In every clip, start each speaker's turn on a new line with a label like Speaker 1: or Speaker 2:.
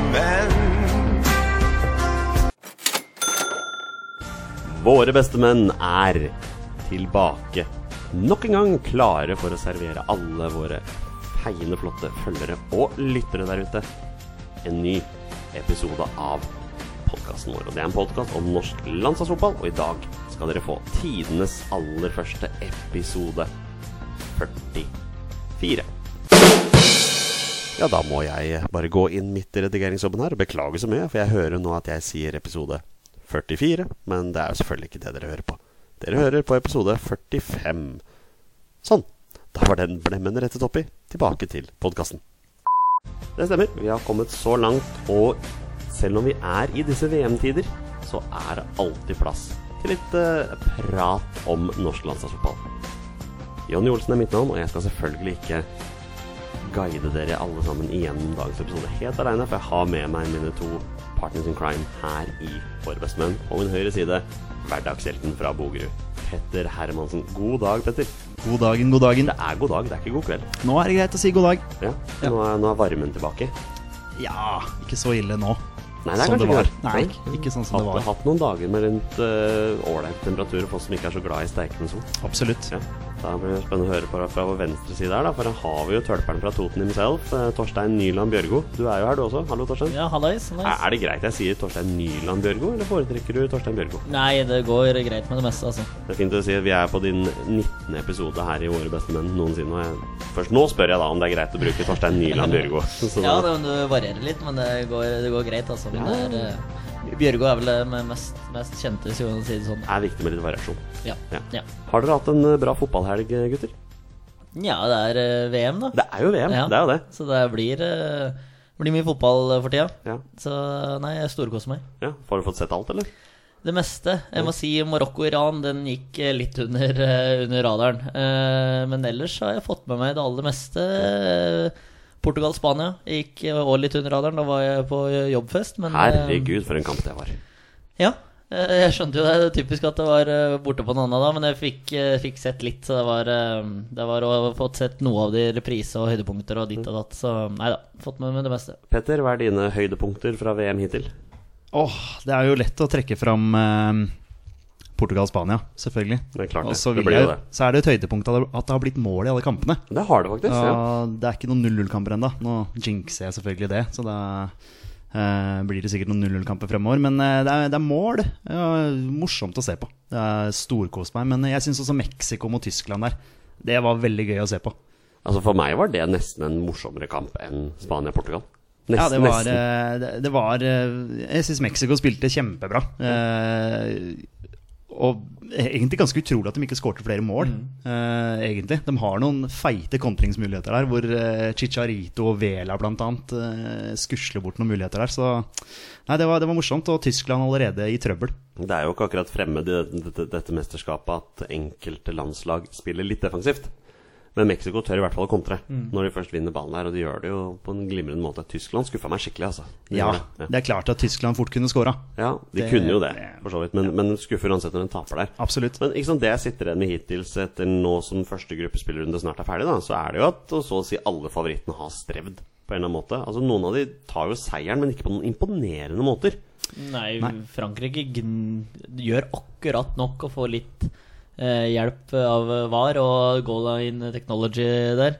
Speaker 1: bestemenn.
Speaker 2: Våre bestemenn er tilbake. Nok en gang klare for å servere alle våre feiende flotte følgere og lyttere der ute en ny episode av podkasten vår. Og det er en podkast om norsk landslagsfotball, og i dag skal dere få tidenes aller første episode 44. Ja, da må jeg bare gå inn midt i redigeringsjobben her og beklage så mye, for jeg hører nå at jeg sier episode 44, men det er jo selvfølgelig ikke det dere hører på. Dere hører på episode 45. Sånn. Da var den blemmen rettet opp i. Tilbake til podkasten. Det stemmer. Vi har kommet så langt, og selv om vi er i disse VM-tider, så er det alltid plass til litt eh, prat om norsk landslagsfotball. Jonny Olsen er mitt navn, og jeg skal selvfølgelig ikke guide dere alle sammen igjennom dagens episode helt aleine, for jeg har med meg mine to partners in crime her i Våre bestemenn. Og min høyre side, hverdagshelten fra Bogerud, Petter Hermansen. God dag, Petter.
Speaker 3: God dagen, god dagen.
Speaker 2: Det er god dag, det er ikke god kveld.
Speaker 3: Nå er det greit å si god dag.
Speaker 2: Ja,
Speaker 3: Ja.
Speaker 2: Nå, er, nå er varmen tilbake.
Speaker 3: Ja, ikke så ille nå.
Speaker 2: Nei, det er
Speaker 3: Som
Speaker 2: kanskje
Speaker 3: det var.
Speaker 2: ikke
Speaker 3: Nei, ikke sånn som det
Speaker 2: Hatt,
Speaker 3: var.
Speaker 2: hatt noen dager med rundt eh, ålreit temperatur for oss som ikke er så glad i steikende sol.
Speaker 3: Absolutt.
Speaker 2: Ja. Da blir det spennende å høre fra, fra vår venstre side her, da, for da har vi jo tølperen fra Toten himself, eh, Torstein Nyland Bjørgo. Du er jo her, du også. Hallo, Torstein.
Speaker 4: Ja, hallais.
Speaker 2: Er,
Speaker 4: hallais.
Speaker 2: er det greit jeg sier Torstein Nyland Bjørgo, eller foretrekker du Torstein Bjørgo?
Speaker 4: Nei, det går greit med det meste, altså.
Speaker 2: Det er fint å si at vi er på din 19. episode her i Våre beste menn noensinne. Og jeg, først nå spør jeg da om det er greit å bruke Torstein Nyland Bjørgo. Så
Speaker 4: Ja,
Speaker 2: da-
Speaker 4: det, det varierer litt, men det går, det går greit, altså.
Speaker 2: Ja.
Speaker 4: Men det er, eh, Bjørgo er vel det med mest, mest kjente, hvis vi kan si det sånn.
Speaker 2: er viktig med litt variasjon.
Speaker 4: Ja.
Speaker 2: Ja.
Speaker 4: ja.
Speaker 2: Har dere hatt en eh, bra fotballhelg, gutter?
Speaker 4: Nja, det er eh, VM, da.
Speaker 2: Det er jo VM,
Speaker 4: Ja.
Speaker 2: det er jo det.
Speaker 4: Så det blir, eh, blir mye fotball eh, for tida.
Speaker 2: Ja.
Speaker 4: Så nei, jeg storkoser meg.
Speaker 2: ja. Har du fått sett alt, eller?
Speaker 4: Det meste. Jeg må si Marokko-Iran, den gikk eh, litt under, eh, under radaren. Eh, Men ellers har jeg fått med meg det aller meste. Eh, Portugal-Spania gikk eh, også litt under radaren. Da var jeg på jobbfest, men eh,
Speaker 2: Herregud, for en kamp det var.
Speaker 4: Ja. Eh, Jeg skjønte jo det. det er typisk at det var eh, borte på Nanna da, men jeg fikk, eh, fikk sett litt. Så det var, eh, det var å ha fått sett noe av de reprise og høydepunkter og ditt og datt. Så nei da. Fått med meg det meste.
Speaker 2: Petter, hva er dine høydepunkter fra VM hittil?
Speaker 3: Åh, det er jo lett å trekke fram eh, Portugal-Spania, selvfølgelig.
Speaker 2: Det er klart det.
Speaker 3: Og så
Speaker 2: Det
Speaker 3: vil
Speaker 2: blir jo
Speaker 3: jeg-
Speaker 2: det.
Speaker 3: så er det et høydepunkt at det- at det har blitt mål i alle kampene.
Speaker 2: Det har du faktisk. Ja.
Speaker 3: Da- det er ikke noen 0-0-kamper ennå. Nå jinxer jeg selvfølgelig det, så da eh, blir det sikkert noen 0-0-kamper fremover. Men eh, det, er, det er mål. Ja, morsomt å se på. Det er storkost meg. Men jeg syns også Mexico mot Tyskland der, det var veldig gøy å se på.
Speaker 2: Altså For meg var det nesten en morsommere kamp enn Spania-Portugal.
Speaker 3: Ja, det
Speaker 2: Nesten,
Speaker 3: var,
Speaker 2: nesten.
Speaker 3: eh, det, det var eh, Jeg syns Mexico spilte kjempebra. Eh, og egentlig ganske utrolig at de ikke skårte flere mål.
Speaker 2: Mm.
Speaker 3: eh, egentlig. De har noen feite kontringsmuligheter der, hvor eh, Chicharito og Vela bl.a. Eh, skusler bort noen muligheter der. Så nei, det var, det var morsomt. Og Tyskland allerede i trøbbel.
Speaker 2: Det er jo ikke akkurat fremmed i dette, dette, dette mesterskapet at enkelte landslag spiller litt defensivt. Men Mexico tør i hvert fall å kontre
Speaker 4: Mm.
Speaker 2: når de først vinner ballen her, og de gjør det jo på en glimrende måte. Tyskland skuffa meg skikkelig, altså. De
Speaker 3: Ja,
Speaker 2: gjorde det. ja.
Speaker 3: det er klart at Tyskland fort kunne skåra.
Speaker 2: ja de
Speaker 3: det-
Speaker 2: kunne jo det, for så vidt, men, men skuffer uansett når de taper der.
Speaker 3: Absolutt.
Speaker 2: Men ikke sant, det jeg sitter igjen med hittils etter nå som første gruppespillerunde snart er ferdig, da, så er det jo at og så å si alle favorittene har strevd på en eller annen måte. Altså Noen av de tar jo seieren, men ikke på noen imponerende måter.
Speaker 4: Nei, Frankrike gn gjør akkurat nok å få litt eh, hjelp av eh, VAR og goal line technology der.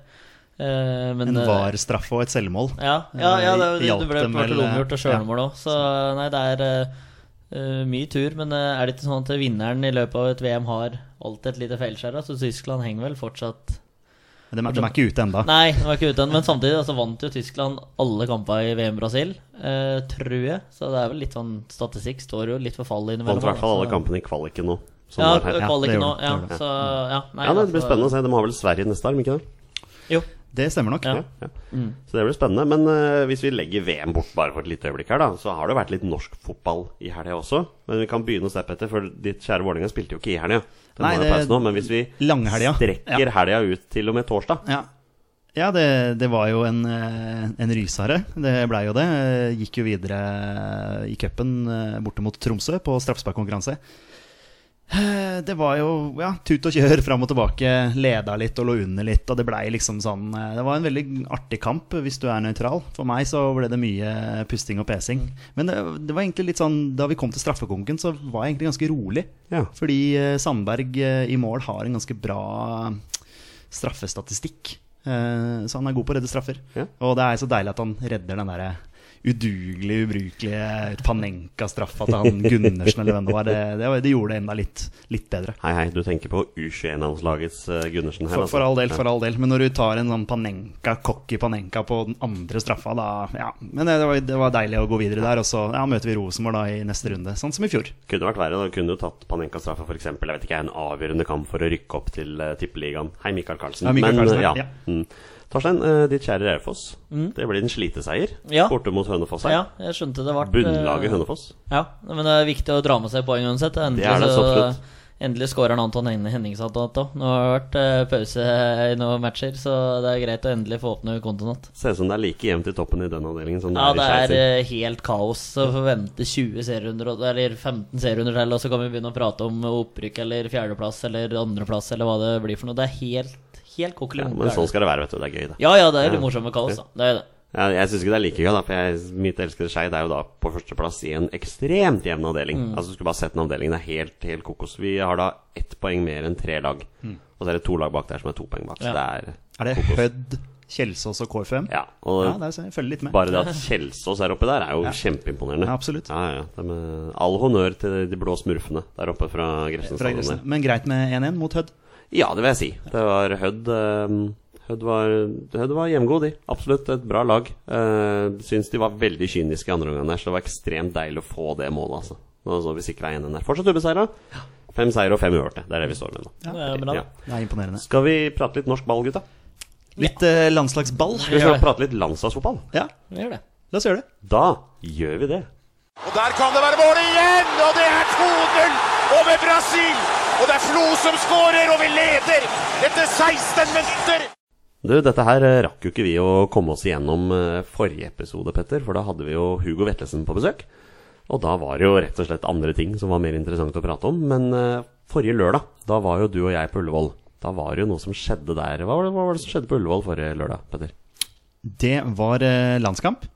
Speaker 4: Eh, men,
Speaker 3: En
Speaker 4: eh,
Speaker 3: VAR-straffe og et selvmål.
Speaker 4: Ja, ja, ja det, det,
Speaker 3: Hjalp
Speaker 4: det ble
Speaker 3: dem
Speaker 4: klart
Speaker 3: vel, eh,
Speaker 4: omgjort og sjølmål òg, så nei, det er eh, eh, mye tur. Men eh, er det ikke sånn at vinneren i løpet av et VM har alltid et lite feilskjær? da? Så Tyskland henger vel fortsatt
Speaker 3: De, er- de er ikke ute ennå.
Speaker 4: Nei, det var ikke uten, men samtidig altså, vant jo Tyskland alle kampene i VM Brasil, eh, tror jeg. Så det er vel litt sånn statistikk står jo litt for fall innimellom.
Speaker 2: Vant i hvert fall
Speaker 4: da,
Speaker 2: alle
Speaker 4: så-
Speaker 2: kampene i kvaliken nå. som
Speaker 4: Ja,
Speaker 2: var her.
Speaker 3: Ja, det
Speaker 4: kvaliken nå.
Speaker 3: gjorde det,
Speaker 4: Ja,
Speaker 3: det gjorde det.
Speaker 4: så ja. Nei,
Speaker 2: ja, det blir
Speaker 4: altså-
Speaker 2: spennende å se. De har vel Sverige neste arm, ikke det?
Speaker 4: Jo.
Speaker 3: Det stemmer nok.
Speaker 4: Ja.
Speaker 2: Ja, ja. Så det blir spennende. Men eh, hvis vi legger VM bort bare for et lite øyeblikk her, da, så har det vært litt norsk fotball i helga også. Men vi kan begynne å steppe etter, for ditt kjære Vålerenga spilte jo ikke i helga. Den
Speaker 3: Nei,
Speaker 2: har jo
Speaker 3: det-
Speaker 2: pause nå, Men hvis vi
Speaker 3: Langhelga.
Speaker 2: strekker helga ut til og med torsdag
Speaker 3: Ja, ja det, det var jo en, eh, en rysare. Det blei jo det. Eh, Gikk eh, jo videre i cupen eh, borte mot Tromsø på straffesparkkonkurranse. Eh, Det var jo ja, tut og kjør fram og tilbake. Leda litt og lå under litt. Og det blei liksom sånn eh, Det var en veldig artig kamp hvis du er nøytral. For meg så ble det mye pusting og pesing. Men det, det var egentlig litt sånn da vi kom til straffekonken, så var jeg egentlig ganske rolig.
Speaker 2: Ja.
Speaker 3: Fordi eh, Sandberg eh, i mål har en ganske bra eh, straffestatistikk. Eh, Så han er god på å redde straffer.
Speaker 2: Ja.
Speaker 3: Og det er så deilig at han redder den derre udugelige, ubrukelige Panenka-straffa til han Gundersen eller hvem det var. Det, det, var- det gjorde det enda litt, litt bedre.
Speaker 2: Hei, hei, du tenker på U21-landslagets eh, Gundersen her?
Speaker 3: For,
Speaker 2: altså.
Speaker 3: for all del, for all del. Men når du tar en sånn Panenka, cocky Panenka på den andre straffa, da Ja. Men det, det, var, det var deilig å gå videre der. Og så ja, møter vi Rosenborg da i neste runde, sånn som i fjor.
Speaker 2: Kunne vært verre. da Kunne du tatt Panenka-straffa f.eks. Jeg vet ikke, en avgjørende kamp for å rykke opp til eh, Tippeligaen. Hei, Mikael Karlsen.
Speaker 3: Ja, Mikael
Speaker 2: Men,
Speaker 3: Karlsen,
Speaker 2: eh,
Speaker 3: ja.
Speaker 2: Mm. Torstein, eh, ditt kjære Raufoss. Det blir en sliteseier
Speaker 4: Mm. Ja.
Speaker 2: borte mot Hønefoss her.
Speaker 4: Ja, Eh. jeg skjønte det ble
Speaker 2: Bunnlaget Hønefoss.
Speaker 4: Ja, men det er viktig å dra med seg poeng uansett. Endelig,
Speaker 2: Det er det, så absolutt.
Speaker 4: endelig skårer han Anton Hen- Henningsen til alt da. Nå har det vært eh, pause i noen matcher, så det er greit å endelig få åpne kontoen igjen.
Speaker 2: Ser ut som det er like jevnt i toppen i den avdelingen som det
Speaker 4: Ja,
Speaker 2: er i
Speaker 4: det er
Speaker 2: Skeid sin.
Speaker 4: eh, helt kaos. Så får vi vente 20 serierunder, og- eller 15 serierunder til, og så kan vi begynne å prate om opprykk eller fjerdeplass eller andreplass eller hva det blir for noe. Det er helt, helt
Speaker 2: Ja,
Speaker 4: kokelig.
Speaker 2: men sånn skal det være, vet du. Det er gøy, det.
Speaker 4: Ja, ja, det er litt morsomt med kaos, da. Det er det.
Speaker 2: Ja, jeg syns ikke det er like gøy, da, for jeg, mitt elskede Skeid er jo da på førsteplass i en ekstremt jevn avdeling.
Speaker 4: Mm.
Speaker 2: Altså, Du skulle bare sett den avdelingen. Det er helt, helt kokos. Vi har da ett poeng mer enn tre lag.
Speaker 3: Mm.
Speaker 2: Og så er det to lag bak der som er to poeng bak. Så det er
Speaker 3: Er det Hødd, Kjelsås og KFM?
Speaker 2: Ja. Og
Speaker 3: Ja, der ser jeg. Følger litt med.
Speaker 2: bare det at Kjelsås er oppe der, er jo kjempeimponerende.
Speaker 3: Ja, absolutt.
Speaker 2: Ja, ja. De, eh, all honnør til de blå smurfene der oppe fra Grefsen
Speaker 3: Fra
Speaker 2: stadion.
Speaker 3: Grefsen. Men greit med 1-1 mot Hødd.
Speaker 2: Ja, det vil jeg si. Det var Hødd. eh, Hødd var, Hødd var hjemgod, de. Absolutt et bra lag. Uh, Syns de var veldig kyniske i andre omgang, der, så det var ekstremt deilig å få det målet. Altså. Nå så vi sikra 1-1 der. Fortsatt ubeseira. Fem seire og fem uavgjorte. Det er det vi står med nå.
Speaker 4: Det er bra.
Speaker 2: Ja.
Speaker 3: Det er imponerende.
Speaker 2: Skal vi prate litt norsk ball, gutta?
Speaker 3: Litt eh, landslagsball.
Speaker 2: Skal vi
Speaker 4: Gjør det.
Speaker 2: snart prate litt landslagsfotball?
Speaker 3: Ja,
Speaker 4: Vi gjør det.
Speaker 3: la oss gjøre det.
Speaker 2: Da gjør vi det.
Speaker 5: Og der kan det være mål igjen! Og det er 2-0 over Brasil! Og det er Flo som skårer, og vi leder etter 16 minutter!
Speaker 2: Du, dette her eh, rakk jo ikke vi å komme oss igjennom eh, forrige episode, Petter, for da hadde vi jo Hugo Vetlesen på besøk. Og da var det jo rett og slett andre ting som var mer interessant å prate om. Men eh, forrige lørdag, da var jo du og jeg på Ullevål. Da var det jo noe som skjedde der. Hva var det, hva var det som skjedde på Ullevål forrige lørdag, Petter?
Speaker 3: Det var eh, landskamp.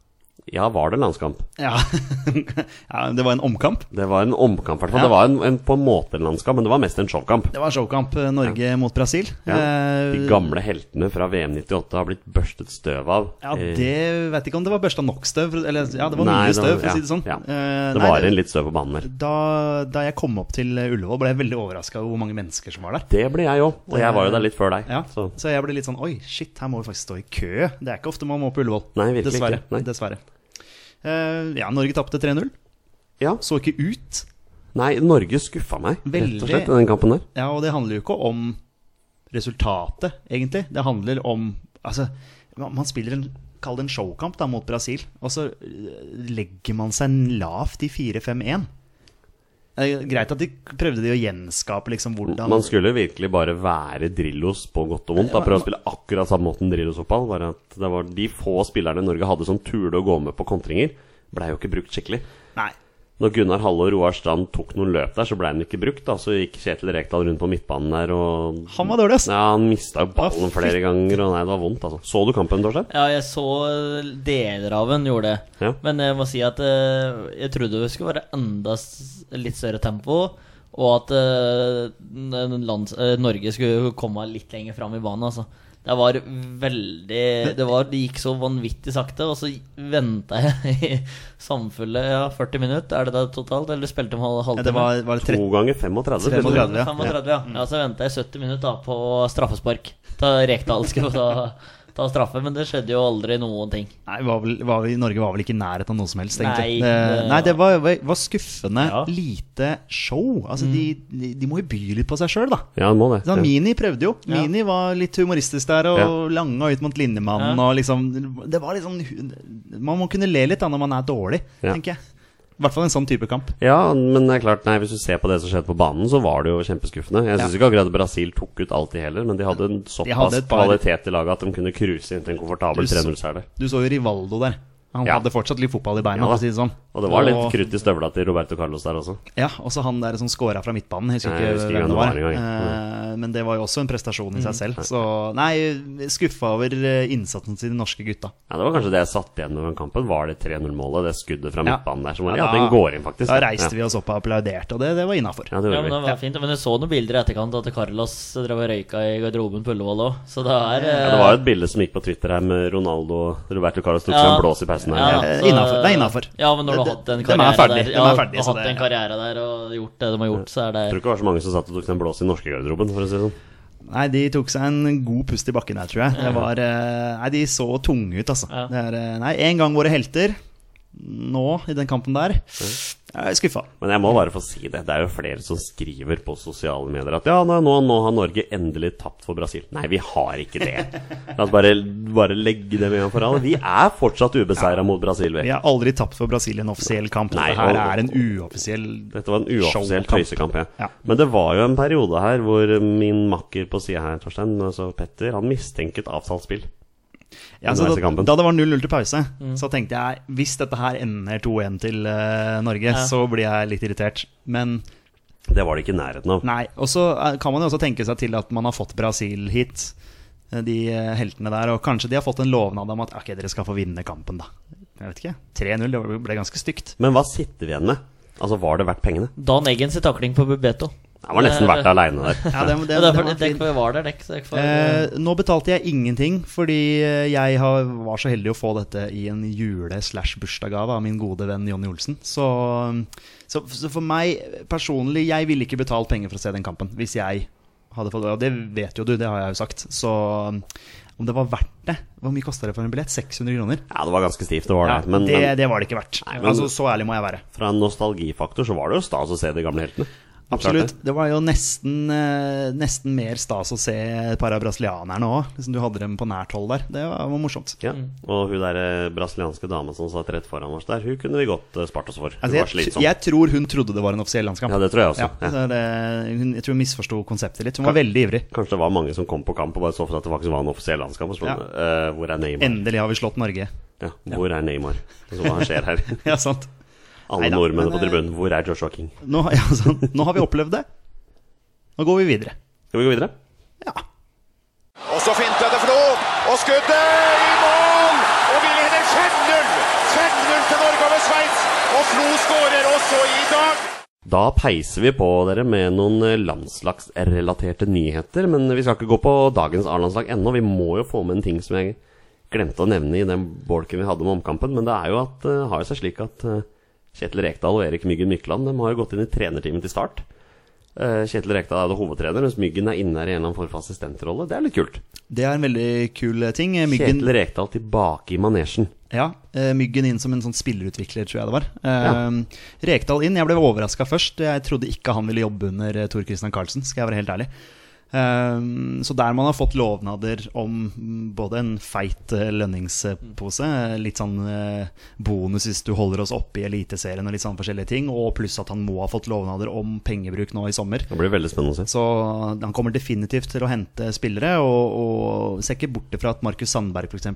Speaker 2: Ja, var det landskamp?
Speaker 3: Ja. ja, det var en omkamp.
Speaker 2: Det var en omkamp, i hvert fall.
Speaker 3: Ja.
Speaker 2: Det var en, en, på en måte en landskamp, men det var mest en showkamp.
Speaker 3: Det var en showkamp, eh, Norge mot Brasil.
Speaker 2: Ja.
Speaker 3: Eh,
Speaker 2: De gamle heltene fra VM 98 har blitt børstet støv av.
Speaker 3: ja,
Speaker 2: Eh,
Speaker 3: det vet jeg ikke om det var børsta nok støv. for- Eller ja, det var
Speaker 2: nei,
Speaker 3: mye støv, for
Speaker 2: ja,
Speaker 3: å si det sånn.
Speaker 2: Ja.
Speaker 3: Eh,
Speaker 2: Det
Speaker 3: nei,
Speaker 2: var en litt støv på banen der.
Speaker 3: da, da jeg kom opp til eh, Ullevål, ble jeg veldig overraska over hvor mange mennesker som var der.
Speaker 2: Det ble jeg òg, og jeg var jo der litt før deg.
Speaker 3: Ja,
Speaker 2: Så.
Speaker 3: så. jeg ble litt sånn Oi, shit, her må vi faktisk stå i kø. Det er ikke ofte man må på Ullevål.
Speaker 2: Nei, virkelig
Speaker 3: dessverre.
Speaker 2: ikke. Nei.
Speaker 3: dessverre. Eh, ja, Norge tapte 3-0.
Speaker 2: Ja.
Speaker 3: Så ikke ut.
Speaker 2: Nei, Norge skuffa meg, rett
Speaker 3: Veldig.
Speaker 2: og slett, i den kampen der.
Speaker 3: Ja, og det handler jo ikke om resultatet, egentlig. Det handler om Altså, man man spiller en Kall det en showkamp da, mot Brasil, og så øh, legger man seg lavt i 4-5-1. Det er Greit at de prøvde de å gjenskape liksom hvordan
Speaker 2: Man skulle virkelig bare være Drillos på godt og vondt. Da Prøve å spille akkurat samme måten Drillos fotball. Bare at det var de få spillerne Norge hadde som turte å gå med på kontringer, blei jo ikke brukt skikkelig.
Speaker 3: Nei.
Speaker 2: Når Gunnar Halle og Roar Strand tok noen løp der, så blei den ikke brukt. Da. Så gikk Kjetil Rekdal rundt på midtbanen der og
Speaker 3: Han var dårlig, ass.
Speaker 2: ja, Han mista jo ballen
Speaker 3: Å, fy-
Speaker 2: flere ganger, og nei, det var vondt, altså. Så du kampen, Torstein?
Speaker 4: Ja, jeg så eh, deler av den gjorde det.
Speaker 2: Ja.
Speaker 4: Men jeg må si at eh, jeg trodde det skulle være enda s- litt større tempo. Og at eh, n- lands, eh, Norge skulle komme litt lenger fram i banen, altså. Det var veldig Det, var, det gikk så vanvittig sakte, og så venta jeg i samfulle ja, 40 minutter. Er det det totalt? Eller spilte man halv,
Speaker 3: Ja,
Speaker 4: halvtime?
Speaker 3: det var, var det tre...
Speaker 2: To ganger 35.
Speaker 3: Tre-
Speaker 2: plutselig.
Speaker 3: 35, ja.
Speaker 4: 35, ja. ja. Så venta jeg 70 minutter da, på straffespark. Da Rekdal skulle ta, ta straffe, men det skjedde jo aldri noen ting.
Speaker 3: Nei, var vel, var vel, Norge var vel ikke i nærheten av noe som helst, egentlig.
Speaker 4: Nei,
Speaker 3: det,
Speaker 4: det-
Speaker 3: nei, det var, var- var skuffende
Speaker 4: Ja.
Speaker 3: lite show. Altså,
Speaker 4: Mm.
Speaker 3: de, de, de må jo by litt på seg sjøl, da.
Speaker 2: Ja, det må det.
Speaker 3: Sånn,
Speaker 2: Ja.
Speaker 3: Mini prøvde jo.
Speaker 4: Ja.
Speaker 3: Mini var litt humoristisk der og
Speaker 2: Ja.
Speaker 3: langa ut mot Lindemann.
Speaker 4: Ja.
Speaker 3: Og liksom, det var litt sånn Man må kunne le litt da når man er dårlig,
Speaker 2: Ja.
Speaker 3: tenker jeg. I hvert fall en sånn type kamp.
Speaker 2: Ja, men det er klart, nei, hvis du ser på det som skjedde på banen, så var det jo kjempeskuffende. Jeg syns ikke akkurat Brasil tok ut alt, de heller, men de hadde en såpass
Speaker 3: hadde et par-
Speaker 2: kvalitet i laget at de kunne cruise inn til en komfortabel
Speaker 3: Du så-
Speaker 2: 3-0-seier.
Speaker 3: Du så jo Rivaldo der. Han
Speaker 2: Ja.
Speaker 3: hadde fortsatt litt fotball i beina.
Speaker 2: Ja da.
Speaker 3: for å si det sånn.
Speaker 2: Og det var litt
Speaker 3: Og-
Speaker 2: krutt i støvla til Roberto Carlos der også.
Speaker 3: Ja, også han der som scora fra midtbanen. Jeg husker
Speaker 2: Nei,
Speaker 3: ikke,
Speaker 2: jeg husker ikke
Speaker 3: hvem det
Speaker 2: hvem
Speaker 3: var.
Speaker 2: det var engang. Mm.
Speaker 3: Eh, Men det var jo også en prestasjon i seg selv. Så nei, skuffa over eh, innsatsen til de norske gutta.
Speaker 2: Ja, Det var kanskje det jeg satt igjen med den kampen. Var det 3-0-målet, det skuddet fra
Speaker 3: Ja.
Speaker 2: midtbanen der som
Speaker 3: Ja,
Speaker 2: var Ja,
Speaker 3: da-
Speaker 2: den går inn, faktisk.
Speaker 3: Da reiste vi oss opp og applauderte, og det, det var innafor.
Speaker 2: Ja, det gjorde
Speaker 4: Ja, men det
Speaker 2: vi.
Speaker 4: var fint. Men du så noen bilder i etterkant at Carlos drev og røyka i garderoben på Ullevål òg, så det er
Speaker 2: Ja, det var jo et bilde som gikk på Twitter her med Ronaldo og Roberto Carlos tok seg en blås i pausen her.
Speaker 4: ja,
Speaker 2: Ja.
Speaker 3: Eh,
Speaker 4: så-
Speaker 3: innenfor. Det er innenfor.
Speaker 4: Ja, men når du har
Speaker 3: Det-
Speaker 4: hatt en
Speaker 3: de er
Speaker 4: karriere
Speaker 3: ferdig.
Speaker 4: der,
Speaker 3: De
Speaker 4: ja,
Speaker 3: er ferdig,
Speaker 4: og
Speaker 3: så
Speaker 4: hatt
Speaker 3: det-
Speaker 4: en karriere der og gjort det de har gjort, så er
Speaker 2: Jeg
Speaker 4: det
Speaker 2: tror ikke det var så mange som satt og tok seg en blås i norske garderoben, for å si det sånn.
Speaker 3: Nei, de tok seg en god pust i bakken der, tror jeg. Det var, eh, nei, de så tunge ut, altså.
Speaker 4: Ja.
Speaker 3: Det er, eh, nei, en gang våre helter. Nå, i den kampen der, jeg er skuffa.
Speaker 2: Men jeg må bare få si det. Det er jo flere som skriver på sosiale medier at ja, nei, nå, nå har Norge endelig tapt for Brasil. Nei, vi har ikke det. La oss bare, bare legge det med en gang for alle. Vi er fortsatt ubeseira mot Brasil.
Speaker 3: Vi
Speaker 2: Vi.
Speaker 3: har aldri tapt for Brasil i en offisiell kamp.
Speaker 2: Nei,
Speaker 3: Dette her
Speaker 2: og-
Speaker 3: er en uoffisiell
Speaker 2: Dette var en uoffisiell
Speaker 3: Showkamp.
Speaker 2: tøysekamp. Ja.
Speaker 3: Ja.
Speaker 2: Men det var jo en periode her hvor min makker på sida her, Torstein, altså Petter, han mistenket avsalgsspill.
Speaker 3: Ja, så
Speaker 2: underveis i
Speaker 3: da,
Speaker 2: kampen.
Speaker 3: da det var 0-0 til pause, så tenkte jeg hvis dette her ender 2-1 til eh, Norge, så blir jeg litt irritert. Men
Speaker 2: Det var det ikke i nærheten av.
Speaker 3: nei. Og så eh, kan man jo også tenke seg til at man har fått Brasil hit, eh, de eh, heltene der. Og kanskje de har fått en lovnad om at ok, dere skal få vinne kampen, da. Jeg vet ikke. 3-0 det var- ble ganske stygt.
Speaker 2: Men hva sitter vi igjen med? Altså, var det verdt pengene?
Speaker 4: Dan Eggens takling på Bubeto.
Speaker 2: Jeg var nesten verdt det aleine der.
Speaker 3: Ja, det,
Speaker 4: Ja, derfor, dekk for var der, dekk, dekk for
Speaker 3: Eh, nå betalte jeg ingenting, fordi eh, jeg har, var så heldig å få dette i en jule-slash-bursdagsgave av min gode venn Jonny Olsen. Så, så, så for meg personlig, jeg ville ikke betalt penger for å se den kampen hvis jeg hadde fått Og det vet jo du, det har jeg jo sagt. Så om det var verdt det Hvor mye kosta det for en billett? 600 kroner?
Speaker 2: Ja, det var ganske stivt, det var det. Men,
Speaker 3: det,
Speaker 2: men
Speaker 3: det var det ikke verdt.
Speaker 2: men-
Speaker 3: altså, så ærlig må jeg være.
Speaker 2: fra en nostalgifaktor så var det jo stas å se de gamle heltene.
Speaker 3: Absolutt. Det var jo nesten, eh, nesten mer stas å se et par av brasilianerne òg. Liksom du hadde dem på nært hold der. Det var, var morsomt.
Speaker 2: Ja, og hun der eh, brasilianske dama som satt rett foran oss der, hun kunne vi godt eh, spart oss for. Hun var
Speaker 3: Altså, jeg,
Speaker 2: slitsom.
Speaker 3: jeg tror hun trodde det var en offisiell landskamp.
Speaker 2: Ja, det tror jeg også.
Speaker 3: Ja,
Speaker 2: Ja.
Speaker 3: så det, hun, jeg tror hun misforsto konseptet litt. Hun var veldig ivrig.
Speaker 2: Kanskje det var mange som kom på kamp og bare så for seg at det faktisk var en offisiell landskamp. Og så
Speaker 3: Ja.
Speaker 2: spurte eh, hvor er Neymar?
Speaker 3: Endelig har vi slått Norge.
Speaker 2: Ja, hvor er Neymar? Og så hva skjer her?
Speaker 3: Ja, sant.
Speaker 2: Alle
Speaker 3: Neida,
Speaker 2: nordmennene
Speaker 3: men, eh,
Speaker 2: på tribunen, hvor er Joshua King?
Speaker 3: Nå, ja, sant. Nå har vi opplevd det. Nå går vi videre.
Speaker 2: Skal vi gå videre?
Speaker 3: Ja.
Speaker 5: Og så finta det Flo, og skuddet i mål! Og vi leder 5-0! 5-0 til Norge over Sveits, og Flo skårer også i dag!
Speaker 2: Da peiser vi på dere med noen eh, landslagsrelaterte nyheter, men vi skal ikke gå på dagens A-landslag ennå. Vi må jo få med en ting som jeg glemte å nevne i den bolken vi hadde om omkampen, men det er jo at eh, har jo seg slik at eh, Kjetil Rekdal og Erik Myggen Mykland de har jo gått inn i trenerteamet til start. Eh, Kjetil Rekdal er jo hovedtrener, mens Myggen er inne her i en eller annen form for assistentrolle. Det er litt kult.
Speaker 3: Det er en veldig kul ting. Myggen,
Speaker 2: Kjetil Rekdal tilbake i manesjen.
Speaker 3: ja, eh, myggen inn som en sånn spillerutvikler, tror jeg det var. Eh, Rekdal inn. Jeg ble overraska først. Jeg trodde ikke han ville jobbe under eh, Tor Christian Carlsen, skal jeg være helt ærlig. Um, Så der man har fått lovnader om mm, både en feit eh, lønningspose, eh, litt sånn eh, bonus hvis du holder oss oppe i Eliteserien og litt sånn forskjellige ting, og pluss at han må ha fått lovnader om pengebruk nå i sommer.
Speaker 2: Det blir veldig spennende å se.
Speaker 3: Så han kommer definitivt til å hente spillere, og, og ser ikke bort ifra at Markus Sandberg, f.eks.,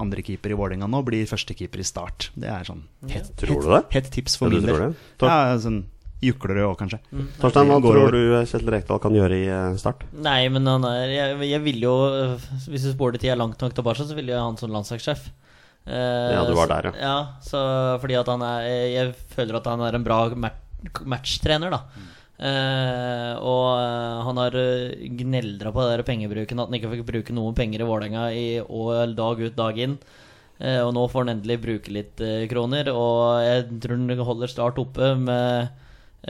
Speaker 3: andrekeeper i Vålerenga nå, blir førstekeeper i Start. Det er sånn hett,
Speaker 2: Tror du det?
Speaker 3: hett tips for
Speaker 2: Ja, du
Speaker 3: min
Speaker 2: tror
Speaker 3: del.
Speaker 2: det? Tor-
Speaker 3: Ja, sånn Juklerød òg, kanskje.
Speaker 2: Torstein, hva
Speaker 3: Går over.
Speaker 2: tror du eh, Kjetil Rekdal kan gjøre i eh, start?
Speaker 4: Nei, men han er Jeg, jeg ville jo øh, Hvis du spoler tida langt nok tilbake, så ville jeg ha han som landslagssjef. Eh,
Speaker 2: Ja, du var der, ja.
Speaker 4: så, ja. Så fordi at han er Jeg føler at han er en bra mat- matchtrener, da. Eh, og eh, han har eh, gneldra på det der pengebruken, at han ikke fikk bruke noen penger i Vålerenga i år, dag ut, dag inn. Eh, og nå får han endelig bruke litt eh, kroner, og jeg tror han holder Start oppe med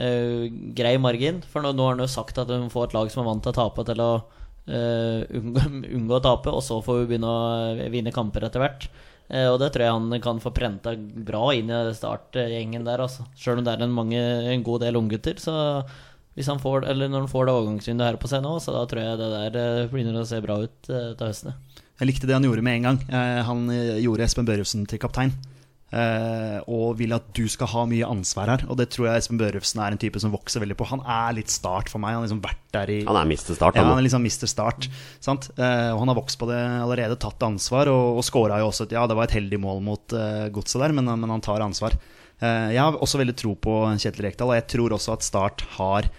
Speaker 4: eh, grei margin. For nå, nå har han jo sagt at hun får et lag som er vant til å tape, til å eh, unngå, unngå å tape, og så får hun begynne å eh, vinne kamper etter hvert. Eh, og det tror jeg han kan få prenta bra inn i startgjengen der, altså. Sjøl om det er en, mange, en god del unggutter, så hvis han får, eller når han får det overgangsvinduet her på seg nå, så da tror jeg det der eh, begynner å se bra ut eh, til høsten. ja.
Speaker 3: Jeg likte det han gjorde med en gang. Eh, han eh, gjorde Espen Børresen til kaptein. Eh, eh, og vil at du skal ha mye ansvar her. Og det tror jeg Espen Børufsen er en type som vokser veldig på. Han er litt start for meg. Han har liksom vært der i
Speaker 2: Han er Mr. Start,
Speaker 3: ja,
Speaker 2: han.
Speaker 3: han er liksom Mr. Start. Sant? Eh, og han har vokst på det allerede, tatt ansvar, og, og scora jo også et Ja, det var et heldig mål mot eh, godset der, men, men han tar ansvar. Eh, jeg har også veldig tro på Kjetil Rekdal, og jeg tror også at Start har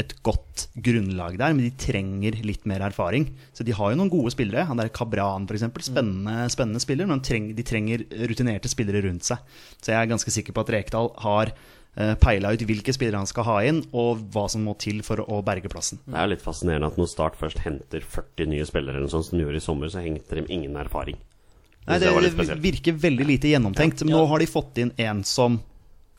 Speaker 3: et godt grunnlag der, men de trenger litt mer erfaring. Så de har jo noen gode spillere. Han der Kabran, f.eks. Spennende, spennende spiller, men treng, de trenger rutinerte spillere rundt seg. Så jeg er ganske sikker på at Rekdal har eh, peila ut hvilke spillere han skal ha inn, og hva som må til for å berge plassen.
Speaker 2: Det er jo litt fascinerende at når Start først henter 40 nye spillere, eller noe sånt som de gjorde i sommer, så hengte de ingen erfaring.
Speaker 3: Nei,
Speaker 2: det var
Speaker 3: det,
Speaker 2: litt
Speaker 3: det
Speaker 2: spesielt.
Speaker 3: virker veldig lite gjennomtenkt. Men nå har de fått inn en som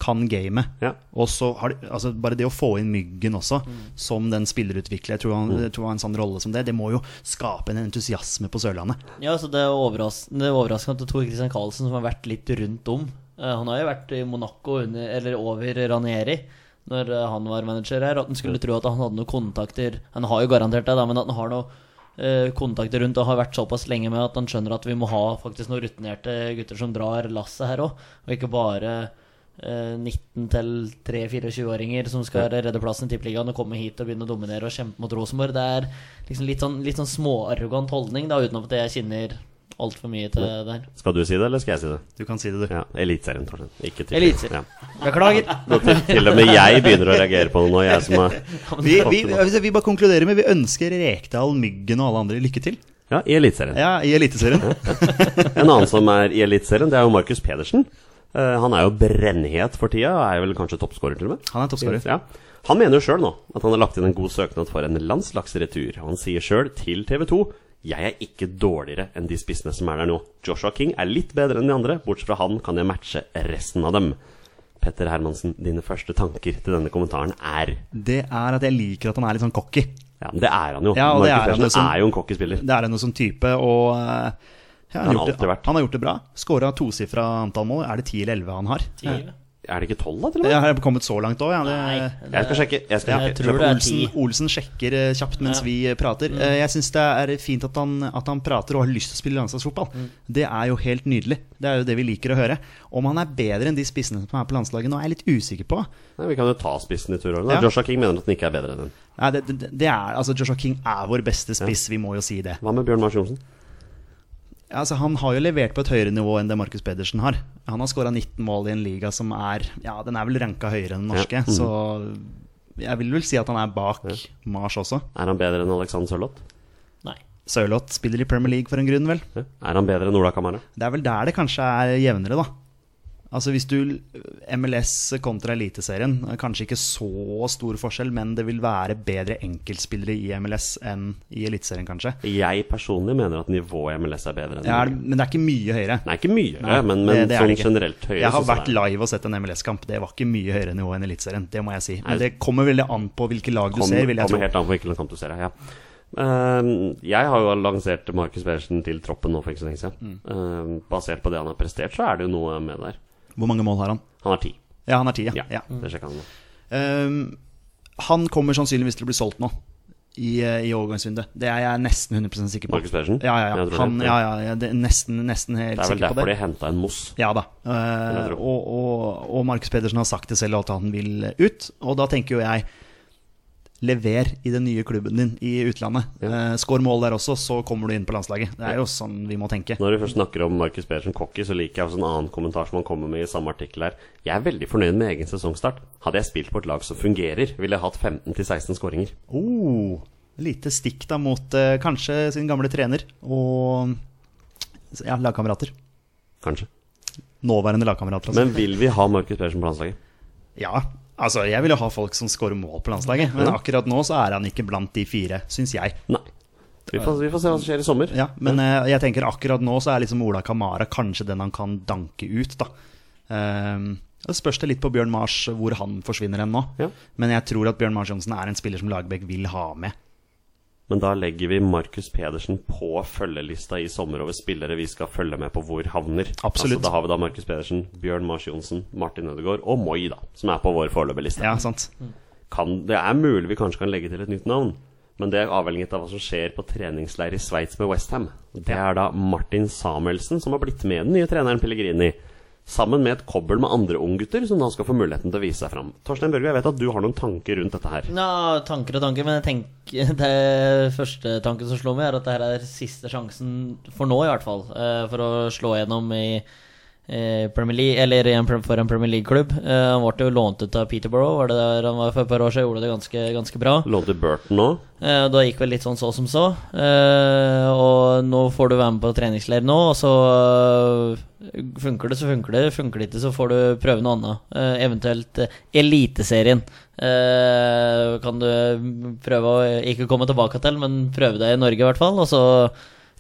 Speaker 3: kan gamet.
Speaker 2: Ja. Mm.
Speaker 3: Og så har de, altså bare det å få inn Myggen også, som den spillerutvikler, jeg tror han, jeg tror han har en sånn rolle som det, det må jo skape en entusiasme på Sørlandet.
Speaker 4: Ja, så Det er overraskende, det er overraskende at Tor Christian Karlsen, som har vært litt rundt om eh, Han har jo vært i Monaco under, eller over Ranieri når eh, han var manager her. At han skulle tro at han hadde noen kontakter Han har jo garantert det, da, men at han har noen eh, kontakter rundt og har vært såpass lenge med at han skjønner at vi må ha faktisk noen rutinerte gutter som drar lasset her òg, og ikke bare eh, 19 til 3-24-åringer som skal redde plassen i Tippeligaen og komme hit og begynne å dominere og kjempe mot Rosenborg. Det er liksom litt sånn, litt sånn småarrogant holdning, da, utenom at jeg kjenner altfor mye til det her.
Speaker 2: Skal du si det, eller skal jeg si det?
Speaker 3: Du kan si det, du.
Speaker 2: Ja, Eliteserien, Torstein. Ikke til
Speaker 4: Eliteserien.
Speaker 2: Ja.
Speaker 4: Beklager.
Speaker 2: Nå Til, til og med jeg begynner å reagere på det nå, jeg som er
Speaker 3: Vi, vi, altså, vi bare konkluderer med vi ønsker Rekdal, Myggen og alle andre lykke til.
Speaker 2: Ja, i Eliteserien.
Speaker 3: Ja, i Eliteserien.
Speaker 2: En annen som er i Eliteserien, det er jo Markus Pedersen. Eh, han er jo brennhet for tida, og er vel kanskje toppskårer til og med.
Speaker 3: Han er toppskårer.
Speaker 2: Ja. Han mener jo sjøl nå at han har lagt inn en god søknad for en landslagsretur. Og han sier sjøl til TV 2 jeg er ikke dårligere enn de spissene som er der nå. Joshua King er litt bedre enn de andre, bortsett fra han kan jeg matche resten av dem. Petter Hermansen, dine første tanker til denne kommentaren er
Speaker 3: Det er at jeg liker at han er litt sånn cocky.
Speaker 2: Ja, men det er han jo.
Speaker 3: Ja, og
Speaker 2: Markus
Speaker 3: det er han jo
Speaker 2: Pedersen
Speaker 3: som-
Speaker 2: er jo en cocky spiller.
Speaker 3: Det er noe sånn type, og eh,
Speaker 2: Han
Speaker 3: ja, han,
Speaker 2: har
Speaker 3: har gjort
Speaker 2: alltid
Speaker 3: det,
Speaker 2: vært.
Speaker 3: han har gjort det bra. Skåra tosifra antall mål. Er det 10 eller 11 han har?
Speaker 2: Er det ikke tolv, da, til og med?
Speaker 3: Jeg har kommet så langt òg, ja. Det,
Speaker 2: Jeg skal sjekke. Jeg skal
Speaker 4: Jeg
Speaker 2: sjekke.
Speaker 4: tror det er ti.
Speaker 3: Olsen, Olsen sjekker eh, kjapt mens vi eh, prater. Eh, Jeg syns det er fint at han, at han prater og har lyst til å spille landslagsfotball. Det er jo helt nydelig. Det er jo det vi liker å høre. Om han er bedre enn de spissene som er på landslaget nå, er jeg litt usikker på.
Speaker 2: Nei, vi kan jo ta spissen i tur over. da.
Speaker 3: Ja.
Speaker 2: Joshua King mener at den ikke er bedre enn den.
Speaker 3: Nei, det, det, det er, altså Joshua King er vår beste spiss, vi må jo si det.
Speaker 2: Hva med Bjørn Mars Johnsen?
Speaker 3: Altså, han har jo levert på et høyere nivå enn det Markus Pedersen har. Han har skåra 19 mål i en liga som er Ja, den er vel ranka høyere enn den
Speaker 4: Mm.
Speaker 3: norske, så jeg vil vel si at han er bak Mars også.
Speaker 2: Er han bedre enn Alexander Sørloth?
Speaker 4: Nei.
Speaker 3: Sørloth spiller i Premier League for en grunn, vel.
Speaker 2: Ja. Er han bedre enn Ola Kamara?
Speaker 3: Det er vel der det kanskje er jevnere, da. Altså hvis du MLS kontra Eliteserien, kanskje ikke så stor forskjell, men det vil være bedre enkeltspillere i MLS enn i Eliteserien, kanskje.
Speaker 2: Jeg personlig mener at nivået i MLS er bedre enn
Speaker 3: Ja, er det-
Speaker 2: Norge.
Speaker 3: men det er ikke mye høyere. Eh,
Speaker 2: Nei, ikke mye, men, men
Speaker 3: det- det er
Speaker 2: sånn
Speaker 3: det ikke.
Speaker 2: generelt høyere.
Speaker 3: Jeg har
Speaker 2: synes jeg
Speaker 3: vært
Speaker 2: det er.
Speaker 3: live og sett en MLS-kamp. Det var ikke mye høyere nivå enn Eliteserien, det må jeg si.
Speaker 2: Nei.
Speaker 3: Men det kommer veldig an på hvilke lag du
Speaker 2: Kom-
Speaker 3: ser, vil
Speaker 2: kommer
Speaker 3: jeg tro.
Speaker 2: helt an på hvilken kamp du ser, ja. Ehm, jeg har jo lansert Markus Pedersen til troppen nå for ikke så lenge
Speaker 3: Mm.
Speaker 2: siden. Ehm, basert på det han har prestert, så er det jo noe med der.
Speaker 3: Hvor mange mål har han?
Speaker 2: Han har ti.
Speaker 3: Ja, han har ti,
Speaker 2: Ja,
Speaker 3: ja. ja.
Speaker 2: det sjekka han nå.
Speaker 3: Ehm, han kommer sannsynligvis til å bli solgt nå, i, eh, i overgangsvinduet. Det er jeg nesten 100 sikker på.
Speaker 2: Markus Pedersen?
Speaker 3: Ja, ja,
Speaker 2: Jeg tror
Speaker 3: ja. Han,
Speaker 2: det.
Speaker 3: ja, ja, ja det er nesten, nesten helt
Speaker 2: Det er vel
Speaker 3: sikker på
Speaker 2: derfor de
Speaker 3: det.
Speaker 2: henta en Moss.
Speaker 3: Ja da. Eh,
Speaker 2: jeg tro.
Speaker 3: og og, og Markus Pedersen har sagt det selv, at han vil ut. Og da tenker jo jeg Lever i den nye klubben din i utlandet. Eh, Skår mål der også, så kommer du inn på landslaget. Det er jo sånn vi må tenke.
Speaker 2: Når vi først snakker om Markus Pedersen Cocky, så liker jeg også en annen kommentar som han kommer med i samme artikkel her. Jeg er veldig fornøyd med egen sesongstart. Hadde jeg spilt på et lag som fungerer, ville jeg hatt 15-16 skåringer.
Speaker 3: Oh, lite stikk da mot eh, kanskje sin gamle trener og ja, lagkamerater.
Speaker 2: Kanskje.
Speaker 3: Nåværende lagkamerater, altså.
Speaker 2: Men vil vi ha Markus Pedersen på landslaget?
Speaker 3: Ja, altså jeg vil jo ha folk som skårer mål på landslaget, men akkurat nå så er han ikke blant de fire, syns jeg.
Speaker 2: Nei. Vi får, vi får se hva som skjer i sommer.
Speaker 3: Ja, men eh, jeg tenker akkurat nå så er liksom Ola Kamara kanskje den han kan danke ut, da. Ehm, det spørs det litt på Bjørn Mars hvor han forsvinner hen nå.
Speaker 2: Ja.
Speaker 3: Men jeg tror at Bjørn Mars Johnsen er en spiller som Lagerbäck vil ha med.
Speaker 2: Men da legger vi Markus Pedersen på følgelista i sommer over spillere vi skal følge med på hvor havner. Altså,
Speaker 3: Absolutt.
Speaker 2: da har vi da Markus Pedersen, Bjørn Mars Johnsen, Martin Ødegaard og Moi, da, som er på vår foreløpige liste.
Speaker 3: Ja, sant?
Speaker 2: kan, Det er mulig vi kanskje kan legge til et nytt navn, men det er avhengig av hva som skjer på treningsleir i Sveits med Westham. Det er da Martin Samuelsen som har blitt med den nye treneren Pellegrini. Sammen med et kobbel med andre unggutter som da skal få muligheten til å vise seg fram. Torstein Børge, jeg vet at du har noen tanker rundt dette her.
Speaker 4: Ja, tanker og tanker, men jeg tenker, det første tanken som slår meg, er at det her er siste sjansen, for nå i hvert fall, eh, for å slå gjennom i eh, Premier League, eller i en, prem- for en Premier League-klubb. Eh, Han ble jo lånt ut av Peterborough, var det der han var for et par år siden, gjorde det ganske, ganske bra.
Speaker 2: Lånte Burton nå.
Speaker 4: Eh, og Da gikk vel litt sånn så som så. Eh, og nå får du være med på treningsleir nå, og så eh, funker det, så funker det. Funker det ikke, så får du prøve noe annet. Eh, eventuelt eh, Eliteserien. Eh, kan du prøve å ikke komme tilbake til, men prøve deg i Norge i hvert fall. Og så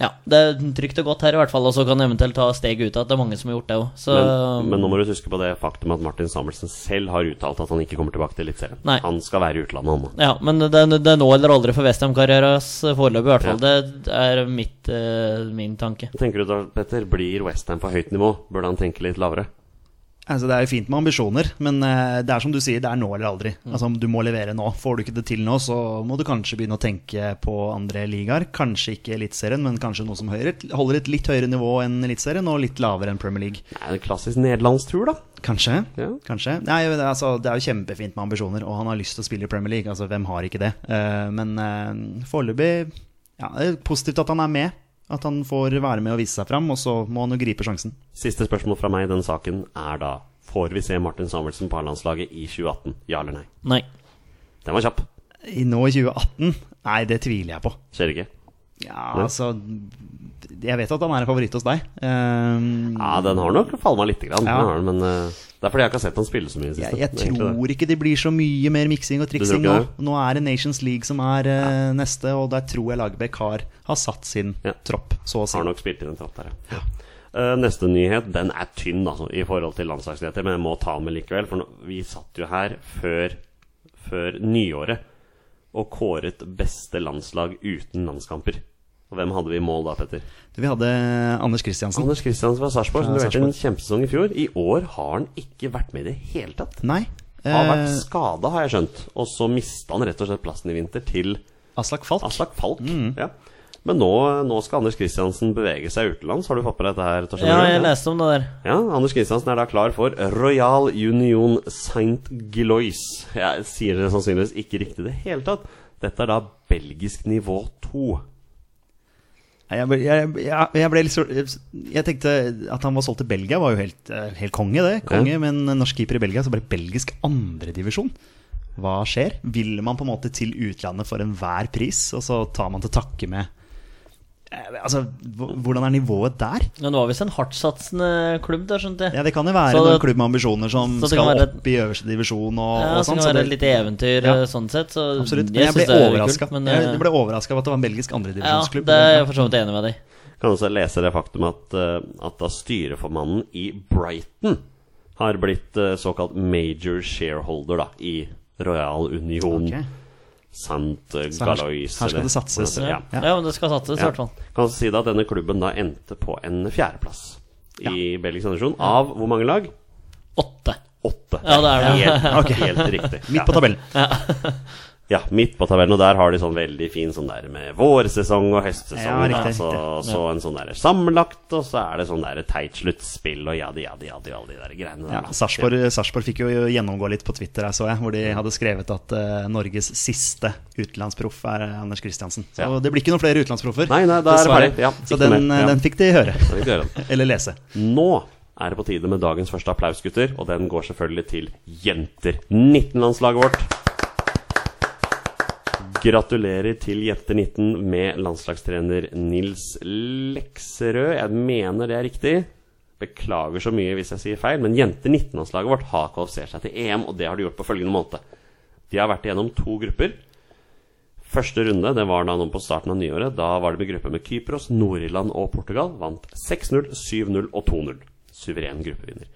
Speaker 4: Ja, det er trygt og godt her i hvert fall, og så kan du eventuelt ta steget ut av at det er mange som har gjort det òg. Så
Speaker 2: Men, men nå må du huske på det faktum at Martin Samuelsen selv har uttalt at han ikke kommer tilbake til Eliteserien.
Speaker 4: Nei.
Speaker 2: Han skal være i utlandet, han nå.
Speaker 4: Ja, men det, er- det er nå eller aldri for Westham-karrieras foreløpig, i hvert fall. Det er mitt, eh, min tanke.
Speaker 2: Hva Tenker du da, Petter, blir Westham for høyt nivå? Burde han tenke litt lavere?
Speaker 3: Altså, det er jo fint med ambisjoner, men eh, det er som du sier, det er nå eller aldri. Altså, du må levere nå. Får du ikke det til nå, så må du kanskje begynne å tenke på andre ligaer. Kanskje ikke Eliteserien, men kanskje noe som høyere, holder et litt høyere nivå enn Eliteserien, og litt lavere enn Premier League.
Speaker 2: Nei, en klassisk nederlandstur, da.
Speaker 3: Kanskje.
Speaker 2: Ja.
Speaker 3: Kanskje. Nei, men altså, det er jo kjempefint med ambisjoner, og han har lyst til å spille i Premier League. Altså, hvem har ikke det? Eh, men eh, foreløpig ja, det er positivt at han er med. At han får være med og vise seg fram, og så må han jo gripe sjansen.
Speaker 2: Siste spørsmål fra meg i denne saken er da Får vi se Martin Samuelsen på A-landslaget i 2018? Ja eller nei?
Speaker 4: Nei.
Speaker 2: Den var kjapp.
Speaker 3: I nå i 2018? Nei, det tviler jeg på.
Speaker 2: Skjer ikke?
Speaker 3: Ja, altså Jeg vet at han er en favoritt hos deg. Ehm,
Speaker 2: Ja, den har nok falma lite grann.
Speaker 3: Ja.
Speaker 2: Den har den, men eh, det er fordi jeg ikke har sett han spille så mye i det
Speaker 3: jeg,
Speaker 2: siste.
Speaker 3: jeg
Speaker 2: Det er egentlig det.
Speaker 3: tror ikke det blir så mye mer miksing og triksing
Speaker 2: Du tror
Speaker 3: nå.
Speaker 2: ikke
Speaker 3: Nå er det Nations League som er eh, neste, og der tror jeg Lagerbäck har, har satt sin
Speaker 2: Ja.
Speaker 3: tropp, så å si.
Speaker 2: Har nok spilt inn en trapp der, ja. Eh, neste nyhet den er tynn altså, i forhold til landslagsnyheter, men jeg må ta den med likevel. For nå, vi satt jo her før, før nyåret og kåret beste landslag uten landskamper. Og hvem hadde vi i mål da, Petter?
Speaker 3: Vi hadde Anders Kristiansen.
Speaker 2: Anders Kristiansen fra Sarpsborg, som
Speaker 3: Ja,
Speaker 2: leverte en kjempesesong i fjor. I år har han ikke vært med i det hele tatt.
Speaker 3: Nei.
Speaker 2: Har vært
Speaker 3: eh,
Speaker 2: skada, har jeg skjønt. Og så mista han rett og slett plassen i vinter til
Speaker 3: eh, Aslak Falk.
Speaker 2: Aslak Falk. Ja. Men nå, nå skal Anders Kristiansen bevege seg utenlands. Har du fått med deg dette her? Torstein
Speaker 4: Ja,
Speaker 2: Røe?
Speaker 4: jeg leste om det der.
Speaker 2: Ja, Anders Kristiansen er da klar for Royal Union Saint Gilois. Jeg sier det sannsynligvis ikke riktig i det hele tatt. Dette er da belgisk nivå 2.
Speaker 3: Nei, Jeg, ble- jeg, jeg, jeg ble litt så, Jeg tenkte at han var solgt til Belgia, var jo helt, eh, helt konge, det. Konge,
Speaker 2: Ja.
Speaker 3: Men norsk keeper i Belgia, så ble belgisk andredivisjon. Hva skjer? Vil man på en måte til utlandet for enhver pris, og så tar man til takke med eh, Altså, hv- hvordan er nivået der?
Speaker 4: Men det var visst en hardtsatsende klubb der, skjønte jeg.
Speaker 3: Ja, Det kan jo være
Speaker 4: Så det-
Speaker 3: noen klubb med ambisjoner som
Speaker 4: så det
Speaker 3: skal
Speaker 4: kan være-
Speaker 3: opp i øverste divisjon og,
Speaker 4: Ja,
Speaker 3: og
Speaker 4: så
Speaker 3: sånn.
Speaker 4: det
Speaker 3: så
Speaker 4: kan være
Speaker 3: det-
Speaker 4: et lite eventyr
Speaker 3: Ja.
Speaker 4: eh, sånn sett. Så
Speaker 3: Absolutt.
Speaker 4: det
Speaker 3: Men jeg
Speaker 4: synes
Speaker 3: ble
Speaker 4: jeg er
Speaker 3: overraska
Speaker 4: kult, men, eh,
Speaker 3: over at det var en belgisk
Speaker 4: ja,
Speaker 3: andredivisjonsklubb.
Speaker 4: det er jeg for så vidt enig med deg i.
Speaker 2: Kan også lese det faktum at, eh, at da styreformannen i Brighton har blitt eh, såkalt major shareholder da, i Royal Union
Speaker 3: Ok.
Speaker 2: Saint eh,
Speaker 3: Så her-
Speaker 2: Galois.
Speaker 3: her skal
Speaker 2: eller-
Speaker 3: det satses. eh,
Speaker 2: Ja.
Speaker 4: Ja.
Speaker 3: Ja.
Speaker 4: men det skal satses, i
Speaker 2: Ja.
Speaker 4: hvert fall.
Speaker 2: Kan også si da at denne klubben da endte på en fjerdeplass i belgisk andresjon. Av hvor mange lag?
Speaker 4: Åtte.
Speaker 2: Åtte.
Speaker 4: Ja, det er det.
Speaker 2: Helt, helt riktig.
Speaker 3: Midt på tabellen.
Speaker 2: Ja, midt på tabellen, og der har de sånn veldig fin sånn der med vårsesong og høstsesong.
Speaker 3: Ja, riktig,
Speaker 2: da, så, så en sånn der sammenlagt, og så er det sånn der teit sluttspill og jadi, jadi, jadi, alle de der greiene der.
Speaker 3: Ja,
Speaker 2: da.
Speaker 3: Sarpsborg Sarpsborg fikk jo gjennomgå litt på Twitter, her, så jeg, hvor de hadde skrevet at eh, Norges siste utenlandsproff er eh, Anders Kristiansen. Så
Speaker 2: Ja.
Speaker 3: det blir ikke noen flere utenlandsproffer.
Speaker 2: Nei, nei, da er det
Speaker 3: dessverre.
Speaker 2: ferdig. Ja,
Speaker 3: så
Speaker 2: ikke
Speaker 3: den,
Speaker 2: mer.
Speaker 3: eh,
Speaker 2: Ja.
Speaker 3: den fikk de høre.
Speaker 2: Det er ikke det, da.
Speaker 3: Eller lese.
Speaker 2: Nå er det på tide med dagens første applaus, gutter, og den går selvfølgelig til jenter. 19-landslaget vårt. Gratulerer til Jenter 19 med landslagstrener Nils Lekserød. Jeg mener det er riktig. Beklager så mye hvis jeg sier feil, men Jenter 19-landslaget vårt har kvalifisert seg til EM, og det har de gjort på følgende måte. De har vært igjennom to grupper. Første runde det var da nå på starten av nyåret. Da var det med gruppe med Kypros, Nord-Irland og Portugal. Vant 6-0, 7-0 og 2-0. Suveren gruppevinner.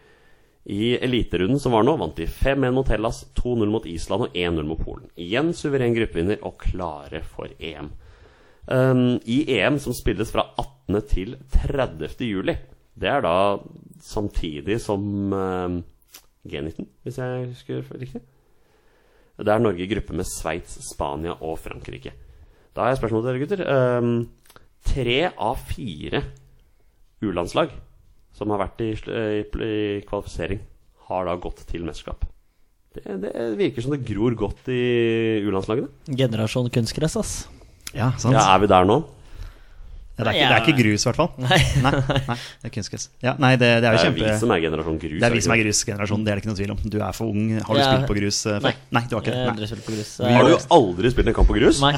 Speaker 2: I eliterunden som var nå, vant de 5-1 mot Hellas, 2-0 mot Island og 1-0 mot Polen. Igjen suveren gruppevinner og klare for EM. Um, I EM som spilles fra 18. til 30. juli. Det er da samtidig som um, G19, hvis jeg husker riktig. Det er Norge i gruppe med Sveits, Spania og Frankrike. Da har jeg et spørsmål til dere, gutter. Ehm, tre av fire U-landslag som har vært i, sl- eh, i, pl- i kvalifisering, har da gått til mesterskap. Det, det virker som det gror godt i U-landslagene.
Speaker 4: Generasjon kunstgress, ass.
Speaker 3: Ja, sant?
Speaker 2: Ja, er vi der nå?
Speaker 3: Ja, det, er ikke, det er ikke grus, i hvert fall. Nei. nei, det er kunstgress. Ja, nei, det, det er
Speaker 2: Det
Speaker 3: jo
Speaker 2: er
Speaker 3: kjempe...
Speaker 2: vi som er generasjon grus.
Speaker 3: Det er vi som er
Speaker 2: ikke
Speaker 3: grusgenerasjonen, det er det ikke noe tvil om. Du er for ung. Har du
Speaker 4: Ja.
Speaker 3: spilt på grus eh, før? Nei, du har ikke
Speaker 4: Jeg har
Speaker 3: det.
Speaker 4: aldri spilt på grus. Eh,
Speaker 2: det? Har du aldri spilt en kamp på grus?
Speaker 4: Nei.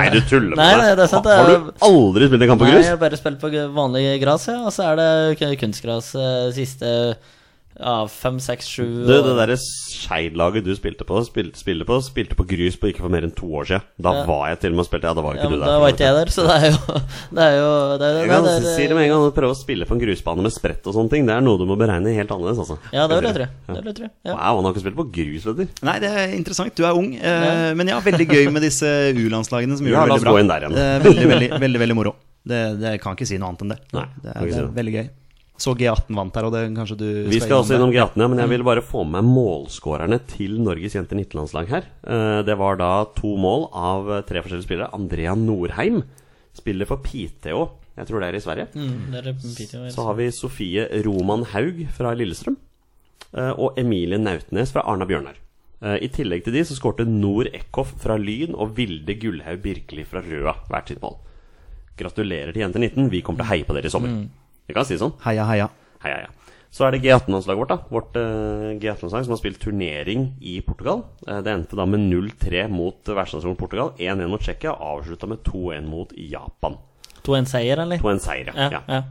Speaker 2: Nei, du tuller med
Speaker 4: Nei,
Speaker 2: meg.
Speaker 4: nei, det er sant,
Speaker 2: Ha-
Speaker 4: det er-
Speaker 2: Har du aldri spilt en kamp på
Speaker 4: Nei,
Speaker 2: grus?
Speaker 4: jeg har bare spilt på gu- vanlig gras, ja. Og så er det k- kunstgras eh, siste ja, fem, seks, sju
Speaker 2: Du, det derre Skeid-laget du spilte på, spilte, spiller på, spilte på grus på ikke for mer enn to år siden. Da
Speaker 4: Ja.
Speaker 2: var jeg til og med og spilte. Ja, da var jo
Speaker 4: ja,
Speaker 2: ikke
Speaker 4: men
Speaker 2: du der.
Speaker 4: Da
Speaker 2: for
Speaker 4: var
Speaker 2: så
Speaker 4: ikke jeg der, så det er jo Det er jo det
Speaker 2: vidt.
Speaker 4: er, jo-
Speaker 2: Jeg kan
Speaker 4: nei, det eh, er,
Speaker 2: si det med en gang, å prøve å spille på en grusbane med sprett og sånne ting, det er noe du må beregne helt annerledes, altså.
Speaker 4: Ja, det vil
Speaker 2: Skal
Speaker 4: jeg tro.
Speaker 2: si
Speaker 4: Det vil jeg tro. Ja.
Speaker 2: Wow, han har ikke spilt på grus, vet du.
Speaker 3: Nei, det er interessant. Du er ung. Eh, men ja, veldig gøy med disse U-landslagene som gjør
Speaker 2: Ja, la
Speaker 3: det
Speaker 2: oss
Speaker 3: veldig bra.
Speaker 2: gå inn der igjen.
Speaker 3: Eh, veldig, veldig, veldig, veldig moro. Det, det kan ikke si noe annet enn det.
Speaker 2: Nei,
Speaker 3: det,
Speaker 2: kan
Speaker 3: er,
Speaker 2: ikke
Speaker 3: det
Speaker 2: si
Speaker 3: er
Speaker 2: det.
Speaker 3: veldig gøy. Så G18 vant her, og det kanskje du
Speaker 2: Vi skal også
Speaker 3: innom
Speaker 2: innom G18, ja, men
Speaker 4: Mm.
Speaker 2: jeg vil bare få med meg målskårerne til Norges jenter 19-landslag her. Eh, Det var da to mål av eh, tre forskjellige spillere. Andrea Norheim spiller for Piteå, jeg tror det er i Sverige.
Speaker 4: Mm, det er Piteå,
Speaker 2: Så har vi Sofie Roman Haug fra Lillestrøm. eh, Og Emilie Nautnes fra Arna Bjørnar. Eh, I tillegg til de så skårte Nor Eckhoff fra Lyn og Vilde Gullhaug Birkeli fra Røa hvert sitt mål. Gratulerer til Jenter 19. Vi kommer til å heie på dere i sommer. Vi kan si det sånn.
Speaker 3: Heia, heia.
Speaker 2: Hei, hei, hei. Så er det G18-landslaget vårt, da. Vårt eh, G18-landslag som har spilt turnering i Portugal. Eh, det endte da med 0-3 mot eh, vertsnasjonen Portugal, 1-1 mot Tsjekkia og avslutta med 2-1 mot Japan.
Speaker 4: To en seier, eller?
Speaker 2: På en seier, ja. ja.
Speaker 4: ja.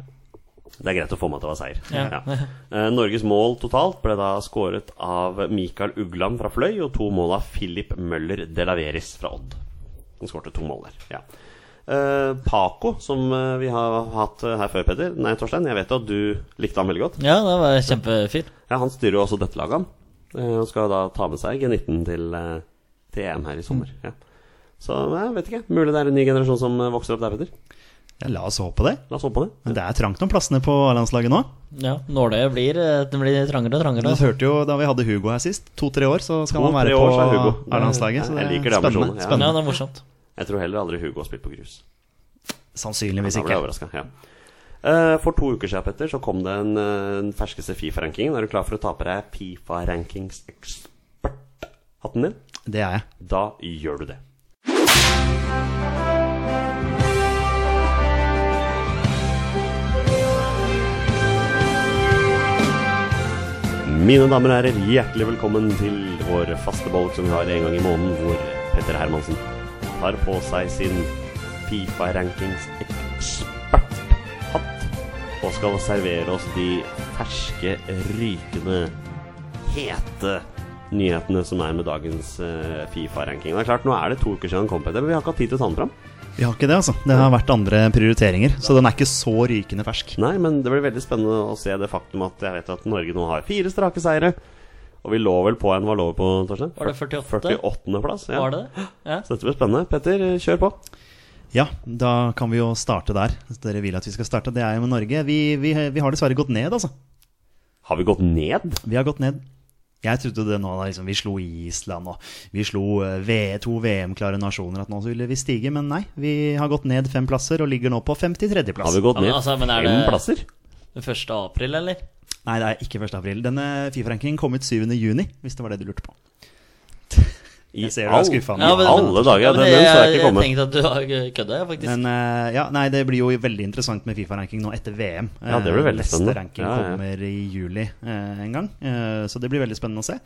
Speaker 2: Det er greit å få med at det var seier.
Speaker 4: Ja.
Speaker 2: Ja. Eh, Norges mål totalt ble da skåret av Mikael Uglam fra Fløy og to mål av Philip Møller Delaveris fra Odd. Han skårte to mål der. ja. Eh, Paco, som eh, vi har hatt eh, her før, Petter Nei, Torstein, jeg vet jo at du likte han veldig godt.
Speaker 4: ja, det var kjempefint.
Speaker 2: Ja, Han styrer jo også dette laget, han. Eh, og skal da ta med seg G19 til, eh, til EM her i sommer. Ja. Så eh, jeg vet ikke. Mulig det er en ny generasjon som eh, vokser opp der, Petter.
Speaker 3: Ja, la oss håpe det.
Speaker 2: La oss håpe på det.
Speaker 3: Men det er trangt om plassene på A-landslaget nå.
Speaker 4: Ja, nåløyet blir, eh, det blir trangere og trangere.
Speaker 3: Du
Speaker 4: altså.
Speaker 3: hørte jo da vi hadde Hugo her sist. To-tre år, så skal
Speaker 2: To,
Speaker 3: han være
Speaker 2: tre år, så er Hugo.
Speaker 3: på A-landslaget. Så
Speaker 2: Jeg
Speaker 3: det er
Speaker 2: liker det
Speaker 3: spennende.
Speaker 2: ambisjonen, ja.
Speaker 4: Ja,
Speaker 3: spennende.
Speaker 4: det er morsomt.
Speaker 2: Jeg tror heller aldri Hugo har spilt på grus.
Speaker 3: Sannsynligvis
Speaker 2: Da ble
Speaker 3: ikke.
Speaker 2: jeg overrasket, ja. Eh, For to uker siden Petter, så kom det en, eh, den ferskeste Fifa-rankingen. Er du klar for å ta på deg Fifa-rankings-ekspert-hatten din?
Speaker 3: Det er jeg.
Speaker 2: Da gjør du det. Mine damer og herrer, hjertelig velkommen til vår faste bolk som vi har en gang i måneden, hvor Petter Hermansen tar på seg sin Fifa-rankings-eksperthatt og skal servere oss de ferske, rykende hete nyhetene som er med dagens eh, Fifa-ranking. Det er klart, Nå er det to uker siden den kom, Petter, men vi har ikke hatt tid til å ta den fram.
Speaker 3: Vi har ikke det, altså. Det har vært andre prioriteringer, så den er ikke så rykende fersk.
Speaker 2: Nei, men det blir veldig spennende å se det faktum at jeg vet at Norge nå har fire strake seire. Og vi lå vel på en Hva lå vi på, Torstein?
Speaker 4: Var det 48?
Speaker 2: 48. plass. Ja.
Speaker 4: Var det det? Ja.
Speaker 2: Så dette blir spennende. Petter, kjør på.
Speaker 3: Ja, da kan vi jo starte der. Hvis dere vil at vi skal starte, det er jo med Norge. Vi, vi, vi har dessverre gått ned, altså.
Speaker 2: Har vi gått ned?
Speaker 3: Vi har gått ned. Jeg trodde det nå, da, liksom, vi slo Island og vi slo eh, v, to VM-klare nasjoner, at nå så ville vi stige, men nei. Vi har gått ned fem plasser og ligger nå på 53.
Speaker 2: Har
Speaker 3: plass.
Speaker 2: vi gått
Speaker 4: Ja, men
Speaker 2: ned
Speaker 4: altså, men er
Speaker 2: fem
Speaker 4: det-
Speaker 2: plasser?
Speaker 4: Den 1. april, eller?
Speaker 3: Nei, det er ikke 1. april. Denne Fifa-rankingen kom ut 7. juni, hvis det var det du lurte på.
Speaker 2: I
Speaker 3: Jeg ser du er skuffa.
Speaker 2: Ja, men- alle dager,
Speaker 4: Ja, men
Speaker 2: den- den så jeg ikke komme.
Speaker 4: Jeg tenkte at du har kødda, jeg, faktisk.
Speaker 3: Men eh, ja, nei, det blir jo veldig interessant med Fifa-ranking nå etter VM.
Speaker 2: Ja, det blir veldig
Speaker 3: Eh, Neste
Speaker 2: spennende.
Speaker 3: ranking
Speaker 2: Ja, ja.
Speaker 3: kommer i juli eh, en gang, eh, så det blir veldig spennende å se.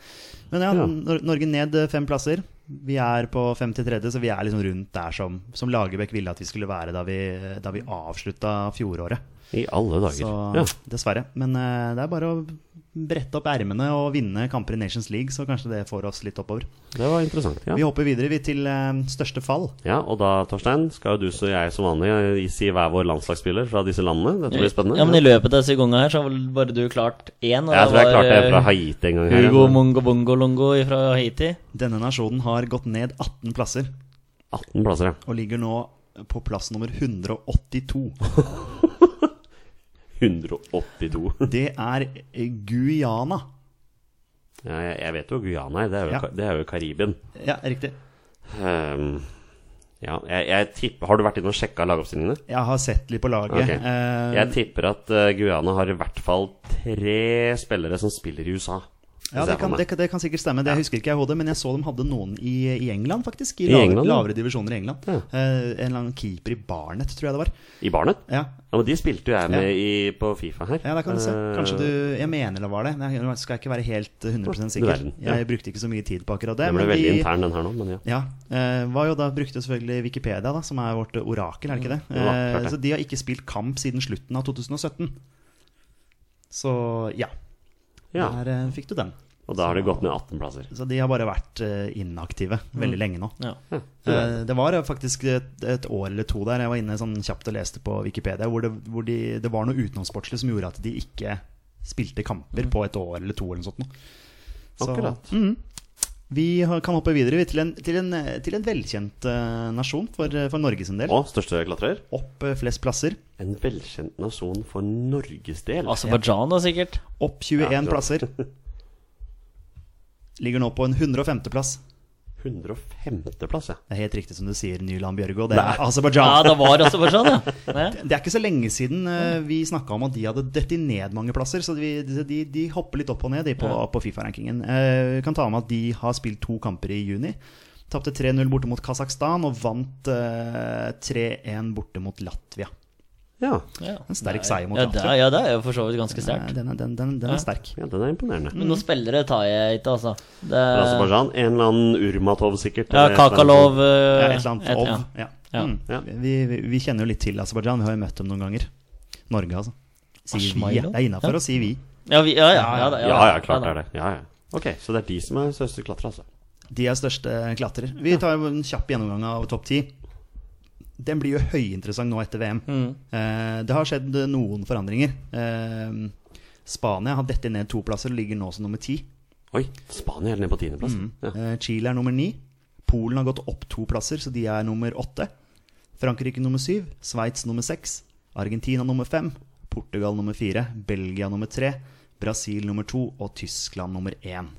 Speaker 3: Men ja,
Speaker 2: Ja.
Speaker 3: Nor Norge ned eh, fem plasser. Vi er på 53., så vi er liksom rundt der som, som Lagerbäck ville at vi skulle være da vi, da vi avslutta fjoråret.
Speaker 2: I alle dager.
Speaker 3: Så
Speaker 2: Ja.
Speaker 3: dessverre. Men eh, det er bare å brette opp ermene og vinne kamper i Nations League, så kanskje det får oss litt oppover.
Speaker 2: Det var interessant. Ja.
Speaker 3: Vi hopper videre vi til eh, største fall.
Speaker 2: ja, Og da, Torstein, skal jo du og jeg som vanlig eh, si hver vår landslagsspiller fra disse landene. Dette blir spennende.
Speaker 4: Ja, men i løpet av disse gangene her, så har vel bare du klart én. og
Speaker 2: Jeg tror jeg
Speaker 4: var,
Speaker 2: klarte det fra
Speaker 4: eh,
Speaker 2: Haiti en gang. her,
Speaker 4: Hugo
Speaker 2: altså.
Speaker 4: Mongo Bongo Longo fra Haiti.
Speaker 3: Denne nasjonen har gått ned 18 plasser.
Speaker 2: 18 plasser, ja.
Speaker 3: og ligger nå på plass nummer 182.
Speaker 2: 182.
Speaker 3: Det er eh, Guyana.
Speaker 2: Ja, jeg, jeg vet jo Guyana er. Det er jo,
Speaker 3: Ja.
Speaker 2: Ka- det er jo Karibien.
Speaker 3: Ja, riktig.
Speaker 2: Ehm, Ja, jeg, jeg tipper, Har du vært inne og sjekka lagoppstillingene?
Speaker 3: Jeg har sett litt på laget.
Speaker 2: Ok.
Speaker 3: Eh,
Speaker 2: Jeg tipper at eh, Guyana har i hvert fall tre spillere som spiller i USA. Ser
Speaker 3: ja, det
Speaker 2: jeg for
Speaker 3: kan,
Speaker 2: meg.
Speaker 3: det, kan- det kan sikkert stemme. Det jeg husker ikke jeg i hodet, men jeg så de hadde noen i, i England, faktisk. I,
Speaker 2: I
Speaker 3: lavere,
Speaker 2: England, ja.
Speaker 3: lavere divisjoner i England.
Speaker 2: Ja.
Speaker 3: Eh, en eller annen keeper i Barnet, tror jeg det var.
Speaker 2: I Barnet?
Speaker 3: Ja,
Speaker 2: Ja, men De spilte jo jeg med i, på Fifa her.
Speaker 3: ja der kan du se.
Speaker 2: Eh,
Speaker 3: Kanskje du Jeg mener det var det. Nei, Nå skal jeg ikke være helt 100
Speaker 2: Du
Speaker 3: sikker.
Speaker 2: verden, ja.
Speaker 3: Jeg brukte ikke så mye tid på akkurat det.
Speaker 2: Den ble
Speaker 3: men
Speaker 2: veldig
Speaker 3: de-
Speaker 2: intern, den her nå, men ja.
Speaker 3: Ja. Eh, var jo da brukte selvfølgelig Wikipedia, da, som er vårt orakel, er det ikke det?
Speaker 2: Jo da, Mm, klart
Speaker 3: Eh,
Speaker 2: det.
Speaker 3: så de har ikke spilt kamp siden slutten av 2017. Så ja,
Speaker 2: ja.
Speaker 3: der eh, fikk du den.
Speaker 2: Og da har det gått ned 18 plasser.
Speaker 3: Så de har bare vært eh, inaktive
Speaker 2: Mm.
Speaker 3: veldig lenge nå.
Speaker 4: Ja.
Speaker 3: Eh, det var faktisk et, et år eller to der jeg var inne sånn kjapt og leste på Wikipedia, hvor det, hvor de, det var noe utenomsportslig som gjorde at de ikke spilte
Speaker 2: Mm.
Speaker 3: kamper på et år eller to eller noe sånt. nå. Så-
Speaker 2: Akkurat.
Speaker 3: Mhm. Vi har- kan hoppe videre vi, til en, til en, eh, til en velkjent eh, nasjon for, eh, for Norge sin del.
Speaker 2: Og største klatrer?
Speaker 3: Opp eh, flest plasser.
Speaker 2: En velkjent nasjon for Norges del.
Speaker 4: Aserbajdsjan, da, sikkert.
Speaker 3: Opp 21
Speaker 2: Ja, det var-
Speaker 3: plasser. Ligger nå på en 105.-plass.
Speaker 2: 105.-plass, ja.
Speaker 3: Det er helt riktig som du sier, Nyland Bjørgo. Det
Speaker 2: Nei.
Speaker 3: er Aserbajdsjan.
Speaker 4: Ja, det var Aserbajdsjan, ja. ja.
Speaker 3: Det er ikke så lenge siden eh, vi snakka om at de hadde dødd ned mange plasser, så de, de, de hopper litt opp og ned de på,
Speaker 4: Ja.
Speaker 3: på Fifa-rankingen. Eh, kan ta med at de har spilt to kamper i juni. Tapte 3-0 borte mot Kasakhstan og vant eh, 3-1 borte mot Latvia.
Speaker 2: ja.
Speaker 4: ja.
Speaker 3: En sterk seier mot
Speaker 4: Ja, det er,
Speaker 3: Latvia.
Speaker 4: ja, det er jo for så vidt ganske
Speaker 3: Eh,
Speaker 4: sterkt.
Speaker 3: Den er, den, den, den
Speaker 4: Ja.
Speaker 3: er sterk.
Speaker 2: Ja, den er imponerende.
Speaker 4: Men noen spillere tar jeg ikke, altså. Det
Speaker 2: Men
Speaker 4: er,
Speaker 2: Aserbajdsjan, sånn, en eller annen Urmatov sikkert. eh,
Speaker 4: ja,
Speaker 2: eller et eller annet
Speaker 4: Kakalov
Speaker 3: Ja,
Speaker 4: eh,
Speaker 3: Et eller annet
Speaker 4: et-
Speaker 3: ov.
Speaker 4: ja.
Speaker 3: Ja.
Speaker 4: Ja.
Speaker 3: Mm.
Speaker 2: Ja.
Speaker 3: Vi, vi, vi kjenner jo litt til Aserbajdsjan. Vi har jo møtt dem noen ganger. Norge, altså. Sier vi.
Speaker 4: Ashmailov?
Speaker 3: Det er innafor å si vi.
Speaker 4: Ja, vi, ja, ja, ja, da,
Speaker 2: sånt. Ja, ja, klart
Speaker 4: da.
Speaker 2: er det. Ja, ja. Ok, Så det er de som er største klatrere, altså.
Speaker 3: De er største klatrer. Vi tar jo en kjapp gjennomgang av topp ti. Den blir jo høyinteressant nå etter VM. Eh, det har skjedd noen forandringer. Eh, Spania har dettet ned to plasser og ligger nå som nummer ti.
Speaker 2: Oi, Spania er nede på tiendeplass. Ja.
Speaker 3: Eh, Chile er nummer ni. Polen har gått opp to plasser, så de er nummer åtte. Frankrike nummer syv. Sveits nummer seks. Argentina nummer fem. Portugal nummer fire. Belgia nummer tre. Brasil nummer to. Og Tyskland nummer én.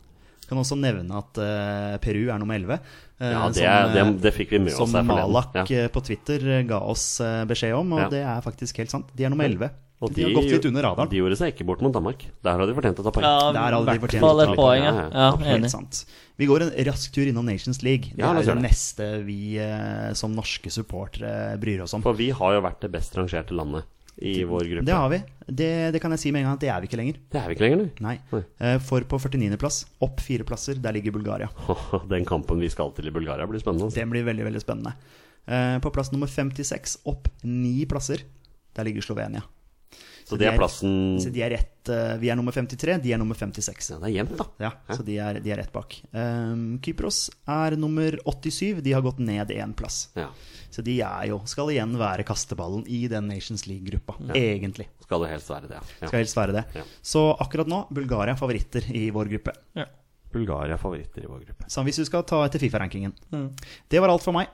Speaker 3: Kan også nevne at eh, Peru er nummer elleve. eh,
Speaker 2: Ja, det,
Speaker 3: som, eh,
Speaker 2: det, det fikk vi med
Speaker 3: som
Speaker 2: oss her forleden.
Speaker 3: Malak
Speaker 2: Ja.
Speaker 3: eh, på Twitter eh, ga oss eh, beskjed om, og
Speaker 2: Ja.
Speaker 3: det er faktisk helt sant. De er nummer
Speaker 2: Ja.
Speaker 3: elleve.
Speaker 2: Og
Speaker 3: De, har gått litt under radaren.
Speaker 2: De gjorde seg ikke bort mot Danmark. Der har de fortjent å ta poeng.
Speaker 4: Ja,
Speaker 3: Der hadde de
Speaker 4: i hvert
Speaker 3: fortjent å
Speaker 4: fall
Speaker 3: ta
Speaker 4: et
Speaker 3: poeng.
Speaker 4: poeng, ja.
Speaker 2: Ja, ja,
Speaker 4: ja
Speaker 3: Helt
Speaker 4: enig.
Speaker 3: sant. Vi går en rask tur innom Nations League. Det
Speaker 2: Ja, la
Speaker 3: er
Speaker 2: oss
Speaker 3: jo
Speaker 2: gjøre
Speaker 3: det
Speaker 2: det.
Speaker 3: neste vi eh, som norske supportere bryr oss om.
Speaker 2: For vi har jo vært det best rangerte landet i vår gruppe.
Speaker 3: Det har vi. Det, det kan jeg si med en gang at det er vi ikke lenger.
Speaker 2: Det er vi ikke lenger, du.
Speaker 3: Nei.
Speaker 2: Oi.
Speaker 3: Eh, For på 49.-plass, opp fire plasser, der ligger Bulgaria.
Speaker 2: Den kampen vi skal til i Bulgaria, blir spennende. altså.
Speaker 3: Den blir veldig, veldig spennende. Eh, På plass nummer 56, opp ni plasser, der ligger Slovenia.
Speaker 2: Så det
Speaker 3: de
Speaker 2: er plassen
Speaker 3: Så de er rett, eh, Vi er nummer 53, de er nummer 56.
Speaker 2: Ja, det er jevnt, da.
Speaker 3: Ja, så de er, de er rett bak. Ehm, Kypros er nummer 87. De har gått ned én plass.
Speaker 2: Ja.
Speaker 3: Så de er jo, skal igjen være kasteballen i den Nations League-gruppa, egentlig.
Speaker 2: Skal det helst være det, ja.
Speaker 3: Skal
Speaker 2: ja.
Speaker 3: helst være det.
Speaker 2: Ja.
Speaker 3: Så akkurat nå Bulgaria favoritter i vår gruppe.
Speaker 4: Ja.
Speaker 2: Bulgaria er favoritter i vår gruppe.
Speaker 3: Så hvis du skal ta etter Fifa-rankingen. Det var alt for meg.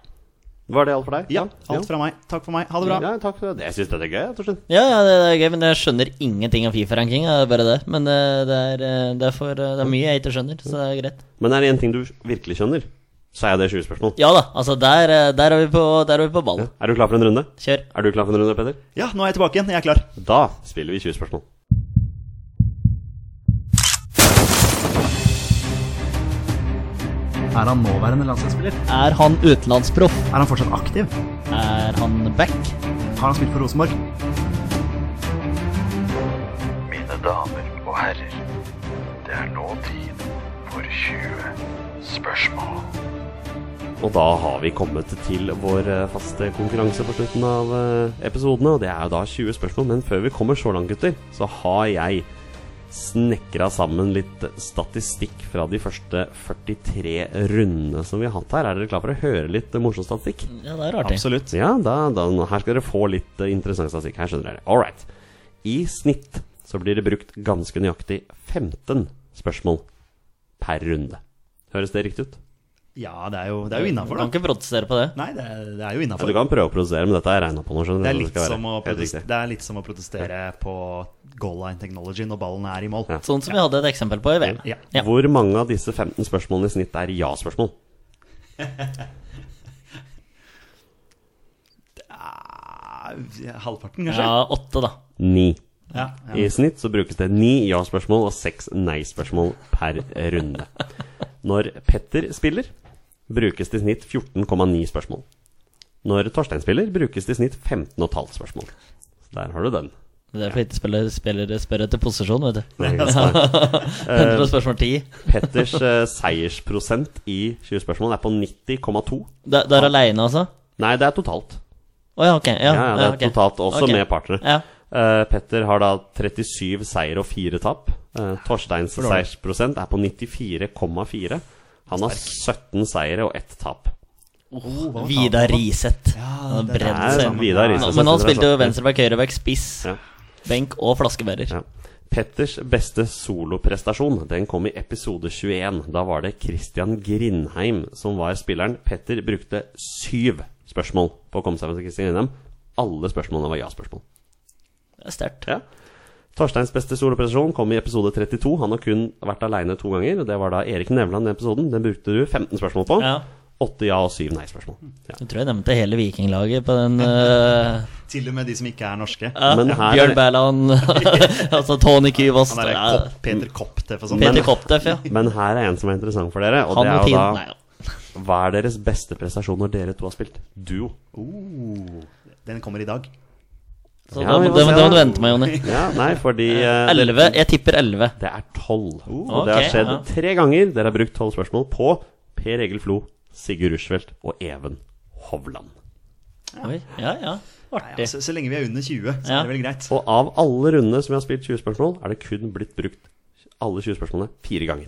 Speaker 2: Var det alt for deg?
Speaker 3: Ja, alt fra meg. Takk for meg. Ha det bra.
Speaker 2: Ja, takk for det. Jeg syns dette er gøy, Torstein.
Speaker 4: Ja, ja, det er gøy, men jeg skjønner ingenting av Fifa-ranking. Det er bare det. Men det, det, er, eh, det, er for, eh, det er mye jeg ikke skjønner, så det er greit.
Speaker 2: Men er det én ting du virkelig skjønner, så er det 20 spørsmål.
Speaker 4: Ja da, altså der, eh, der, er, vi på, der er vi på ballen.
Speaker 2: Er du klar for en runde?
Speaker 4: Kjør.
Speaker 2: Er du klar for en runde, Peder?
Speaker 3: Ja, nå er jeg tilbake igjen. Jeg er klar.
Speaker 2: Da spiller vi 20 spørsmål.
Speaker 3: Er han nåværende landslagsspiller?
Speaker 4: Er han utenlandsproff?
Speaker 3: Er han fortsatt aktiv?
Speaker 4: Er han back?
Speaker 3: Har han spilt for Rosenborg?
Speaker 6: Mine damer og herrer, det er nå tid for 20 spørsmål.
Speaker 2: Og da har vi kommet til vår eh, faste konkurranse på slutten av eh, episodene, og det er jo da 20 spørsmål. Men før vi kommer så langt, gutter, så har jeg snekra sammen litt statistikk fra de første 43 rundene som vi har hatt her. Er dere klar for å høre litt eh, morsom statistikk?
Speaker 4: Ja, det er artig.
Speaker 3: Absolutt.
Speaker 2: Ja, da, da, nå- her skal dere få litt eh, interessant statistikk. Her skjønner dere. All right. I snitt så blir det brukt ganske nøyaktig 15 spørsmål per runde. Høres det riktig ut?
Speaker 3: Ja, det er jo, det er jo innafor,
Speaker 4: Kan
Speaker 3: da.
Speaker 4: ikke protestere på det.
Speaker 3: Nei, det er, det er jo
Speaker 2: Ja,
Speaker 3: innafor.
Speaker 2: du kan prøve å produsere, men dette har jeg regna på nå. skjønner du,
Speaker 3: Det er,
Speaker 2: hvordan
Speaker 3: litt
Speaker 2: skal være.
Speaker 3: som å
Speaker 2: Helt
Speaker 3: protestere,
Speaker 2: riktig.
Speaker 3: det er litt som å protestere på goal line technology når ballen er i mål.
Speaker 2: Ja.
Speaker 4: Sånn som vi hadde et eksempel på i VM.
Speaker 3: Ja.
Speaker 4: Ja.
Speaker 2: Hvor mange av disse 15 spørsmålene i snitt er ja-spørsmål?
Speaker 3: Ja, halvparten, kanskje?
Speaker 4: Ja, åtte, da.
Speaker 2: Ni.
Speaker 3: Ja.
Speaker 2: I snitt så brukes det ni ja-spørsmål og seks nei-spørsmål per runde. Når Petter spiller, brukes det i snitt 14,9 spørsmål. Når Torstein spiller, brukes det i snitt 15,5 spørsmål. Så der har du den.
Speaker 4: Men Det er fordi spillere, spillere spør etter posisjon, vet du.
Speaker 2: Det er ganske smart. Eh,
Speaker 4: 100 spørsmål 10.
Speaker 2: Petters eh, seiersprosent i 20 spørsmål er på 90,2.
Speaker 4: Det, det er aleine, altså?
Speaker 2: Nei, det er totalt.
Speaker 4: Å ja, ok. Ja,
Speaker 2: Ja, ja, det er
Speaker 4: ok.
Speaker 2: totalt også
Speaker 4: Ok.
Speaker 2: med partnere.
Speaker 4: Ja.
Speaker 2: Eh, Petter har da 37 seier og 4 tap. Eh, Torsteins seiersprosent er på 94,4. Han har 17 seire og 1 tap.
Speaker 3: Oh,
Speaker 4: Vidar Riseth.
Speaker 3: Ja,
Speaker 4: Han
Speaker 3: det er
Speaker 2: det.
Speaker 4: brenner seg.
Speaker 2: Det er sånn Vidar Riseth.
Speaker 4: Men han spilte
Speaker 2: Ja.
Speaker 4: jo venstreback, høyreback, spiss,
Speaker 2: Ja.
Speaker 4: benk og flaskebærer.
Speaker 2: Ja. Petters beste soloprestasjon Den kom i episode 21. Da var det Christian Grindheim som var spilleren. Petter brukte syv spørsmål på å komme seg med Christian Grindheim. Alle spørsmålene var ja-spørsmål.
Speaker 4: Det er Sterkt.
Speaker 2: Ja. Torsteins beste soloprestasjon kom i episode 32. Han har kun vært aleine to ganger. og Det var da Erik Nevland i den episoden. Den brukte du 15 spørsmål på.
Speaker 4: Ja.
Speaker 2: Åtte ja og syv nei-spørsmål. Ja.
Speaker 4: Jeg tror jeg nevnte hele vikinglaget på den eh,
Speaker 3: Til og med de som ikke er norske.
Speaker 4: ja,
Speaker 2: Men her-
Speaker 4: Bjørn Berland, altså Tony Kyvås
Speaker 3: Han er
Speaker 4: ja,
Speaker 3: Kopp, Peter Koptef og sånn.
Speaker 4: Peter Kopteff, ja.
Speaker 2: Men her er en som er interessant for dere. Og
Speaker 4: Han
Speaker 2: det
Speaker 4: og
Speaker 2: er jo
Speaker 4: Tine.
Speaker 2: da
Speaker 4: Nei, ja.
Speaker 2: Hva er deres beste prestasjon når dere to har spilt duo?
Speaker 3: Oh, den kommer i dag.
Speaker 4: Så
Speaker 2: Ja,
Speaker 4: da,
Speaker 2: vi
Speaker 4: må-
Speaker 2: får
Speaker 4: det,
Speaker 2: se
Speaker 4: må- det
Speaker 2: da.
Speaker 4: må du vente med, Jonny.
Speaker 2: Ja, nei, fordi eh, det,
Speaker 4: 11. Jeg tipper 11.
Speaker 2: det er tolv. og
Speaker 4: ok,
Speaker 2: det har skjedd
Speaker 4: ja.
Speaker 2: tre ganger. Dere har brukt tolv spørsmål på Per Egil Flo, Sigurd Rushfeldt og Even Hovland.
Speaker 4: Oi, ja, ja.
Speaker 3: Ja,
Speaker 4: Artig.
Speaker 3: så, så lenge vi er under 20, så
Speaker 4: Ja.
Speaker 3: er det vel greit.
Speaker 2: Og av alle rundene som jeg har spilt 20 spørsmål, er det kun blitt brukt alle 20 spørsmålene fire ganger.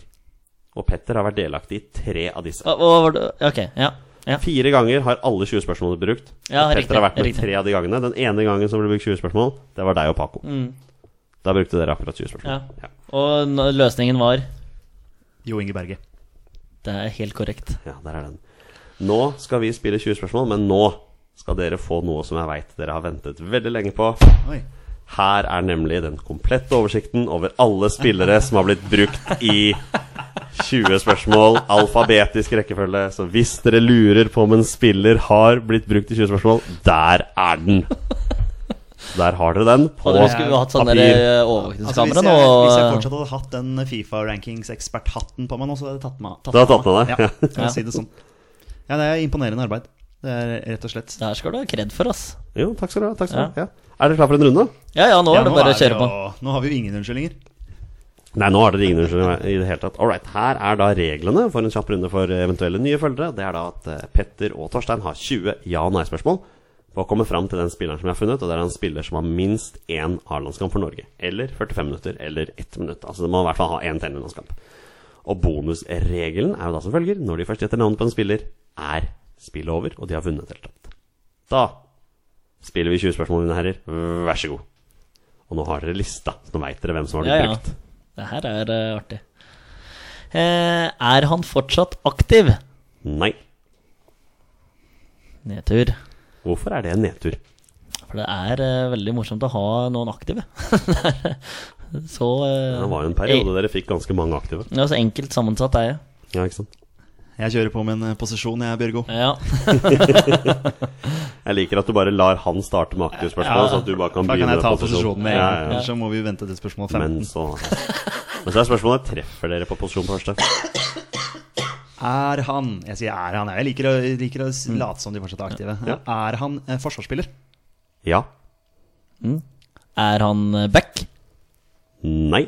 Speaker 2: Og Petter har vært delaktig i tre av disse.
Speaker 4: Hva hva var det Ok, ja. ja.
Speaker 2: Fire ganger har alle 20 spørsmålene blitt brukt.
Speaker 4: Ja,
Speaker 2: og Petter
Speaker 4: riktig,
Speaker 2: har vært med
Speaker 4: riktig.
Speaker 2: tre av de gangene. Den ene gangen som ble brukt 20 spørsmål, det var deg og Paco.
Speaker 4: Mm.
Speaker 2: Da brukte dere akkurat 20 spørsmål.
Speaker 4: Ja. Og n- løsningen var
Speaker 3: Jo Inge Berge.
Speaker 4: Det er helt korrekt.
Speaker 2: Ja, der er den. Nå skal vi spille 20 spørsmål, men nå skal dere få noe som jeg veit dere har ventet veldig lenge på.
Speaker 3: Oi.
Speaker 2: Her er nemlig den komplette oversikten over alle spillere som har blitt brukt i 20 spørsmål, alfabetisk rekkefølge. Så hvis dere lurer på om en spiller har blitt brukt i 20 spørsmål, der er den! Der har dere den på
Speaker 4: Og dere skulle jo hatt sånne
Speaker 2: papir.
Speaker 4: der, eh,
Speaker 3: Altså, hvis,
Speaker 4: overvåkningskamera
Speaker 3: jeg,
Speaker 4: nå. eh,
Speaker 3: hvis jeg
Speaker 4: og-
Speaker 3: fortsatt hadde hatt den Fifa-rankings-ekspert-hatten på meg nå, så hadde jeg tatt meg
Speaker 2: Du hadde tatt med deg,
Speaker 3: Ja,
Speaker 2: ja.
Speaker 3: for å si det sånn. Ja, det er imponerende arbeid. Det er rett og slett.
Speaker 4: Det her skal du ha kred for, ass.
Speaker 2: Jo, takk skal du ha. Takk skal du ha. Ja. Er dere klar for en runde?
Speaker 4: Ja ja, nå
Speaker 3: Ja,
Speaker 4: er det
Speaker 3: nå
Speaker 4: bare
Speaker 3: er
Speaker 4: å
Speaker 3: det
Speaker 4: kjøre på.
Speaker 3: jo- Nå har vi jo ingen unnskyldninger.
Speaker 2: Nei, nå har dere ingen unnskyldning i det hele tatt. All right, her er da reglene for en kjapp runde for eh, eventuelle nye følgere. Det er da at eh, Petter og Torstein har 20 ja- og nei-spørsmål for å komme fram til den spilleren som jeg har funnet, og det er en spiller som har minst én A-landskamp for Norge. Eller 45 minutter, eller 1 minutt. Altså det må i hvert fall ha én til en landskamp. Og bonusregelen er jo da som følger når de først gjetter navnet på en spiller, er spillet over, og de har vunnet helt tatt. Da spiller vi 20 spørsmål, mine herrer. Vær så god. Og nå har dere lista, så nå veit dere hvem som har blitt
Speaker 4: Ja, ja.
Speaker 2: brukt.
Speaker 4: Det her er eh, artig. Eh, er han fortsatt aktiv?
Speaker 2: Nei.
Speaker 4: Nedtur.
Speaker 2: Hvorfor er det en nedtur?
Speaker 4: For det er eh, veldig morsomt å ha noen aktive. så eh,
Speaker 2: Det var jo en periode dere fikk ganske mange aktive.
Speaker 4: Ja, så enkelt sammensatt er jeg.
Speaker 2: Ja, ikke sant?
Speaker 3: Jeg kjører på med en eh, posisjon, jeg, Bjørgo.
Speaker 4: Ja,
Speaker 2: Jeg liker at du bare lar han starte med aktive spørsmål. så at du bare kan
Speaker 3: Da kan
Speaker 2: begynne
Speaker 3: jeg ta
Speaker 2: med posisjon.
Speaker 3: posisjonen med en
Speaker 2: Ja,
Speaker 3: gang.
Speaker 2: ja, ja.
Speaker 3: Ellers så må vi vente til spørsmål
Speaker 2: Men
Speaker 3: 15.
Speaker 2: så Men så er spørsmålet treffer dere på posisjon på første.
Speaker 3: Er han Jeg sier er han, jeg. jeg liker å, liker å s-
Speaker 4: Mm.
Speaker 3: late som de fortsatt er aktive.
Speaker 2: Ja.
Speaker 3: Er han eh, forsvarsspiller?
Speaker 2: Ja.
Speaker 4: Er han eh, back?
Speaker 2: Nei.